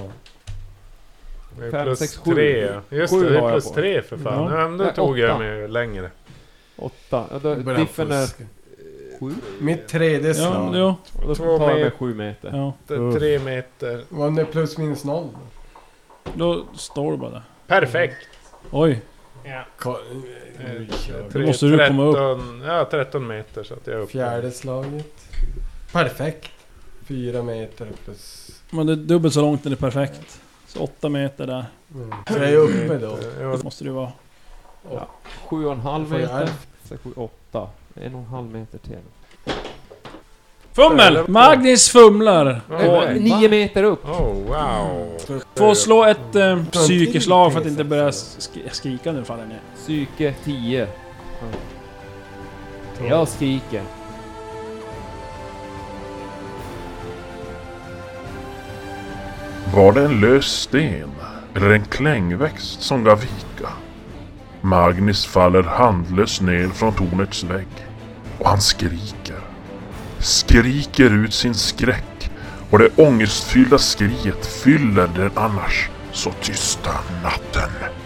[SPEAKER 7] Det är
[SPEAKER 2] Fem,
[SPEAKER 7] plus
[SPEAKER 2] sex, sju.
[SPEAKER 7] tre. ja. Just
[SPEAKER 2] Sju
[SPEAKER 7] det, det
[SPEAKER 2] har
[SPEAKER 7] är
[SPEAKER 2] jag
[SPEAKER 7] plus
[SPEAKER 2] på.
[SPEAKER 7] tre för fan.
[SPEAKER 4] Ja.
[SPEAKER 7] Ja, men då
[SPEAKER 2] Nej,
[SPEAKER 7] tog jag
[SPEAKER 2] åtta.
[SPEAKER 7] mig längre.
[SPEAKER 2] åtta. Ja, då,
[SPEAKER 5] Nu börjar han
[SPEAKER 2] diffen är
[SPEAKER 5] fuska.
[SPEAKER 2] sju.
[SPEAKER 5] Mitt tredje
[SPEAKER 4] Ja,
[SPEAKER 5] slag.
[SPEAKER 4] jo,
[SPEAKER 2] Och Då
[SPEAKER 7] Två
[SPEAKER 2] tar jag mig
[SPEAKER 7] med-
[SPEAKER 2] sju meter.
[SPEAKER 4] ja.
[SPEAKER 7] Tre meter.
[SPEAKER 5] Var det plus minus noll?
[SPEAKER 4] Då står du bara där.
[SPEAKER 7] Perfekt!
[SPEAKER 4] Oj,
[SPEAKER 5] Ko-
[SPEAKER 7] Eh,
[SPEAKER 4] Då måste du komma upp.
[SPEAKER 7] 13 Ja, 13 meter så att jag är uppe.
[SPEAKER 5] Fjärde slaget. Perfekt. Fyra meter plus...
[SPEAKER 4] men det är dubbelt så långt, den är perfekt. Så åtta meter där,
[SPEAKER 5] Mm. Så jag är uppe då.
[SPEAKER 7] Ja,
[SPEAKER 4] måste det vara.
[SPEAKER 2] Sju och en halv
[SPEAKER 5] Får jag
[SPEAKER 2] meter.
[SPEAKER 5] är?
[SPEAKER 2] Så sju, åtta. En och en halv meter till.
[SPEAKER 4] Fummel! Magnus fumlar!
[SPEAKER 7] Åh,
[SPEAKER 2] Och nio meter upp!
[SPEAKER 7] Oh wow!
[SPEAKER 4] Får slå ett eh, psykeslag för att inte börja sk- skrika nu faller ner.
[SPEAKER 2] Psyke 10. Jag skriker.
[SPEAKER 1] Var det en lös sten eller en klängväxt som gav vika? Magnus faller handlös ner från tornets vägg och han skriker. Skriker ut sin skräck och det ångestfyllda skriet fyller den annars så tysta natten.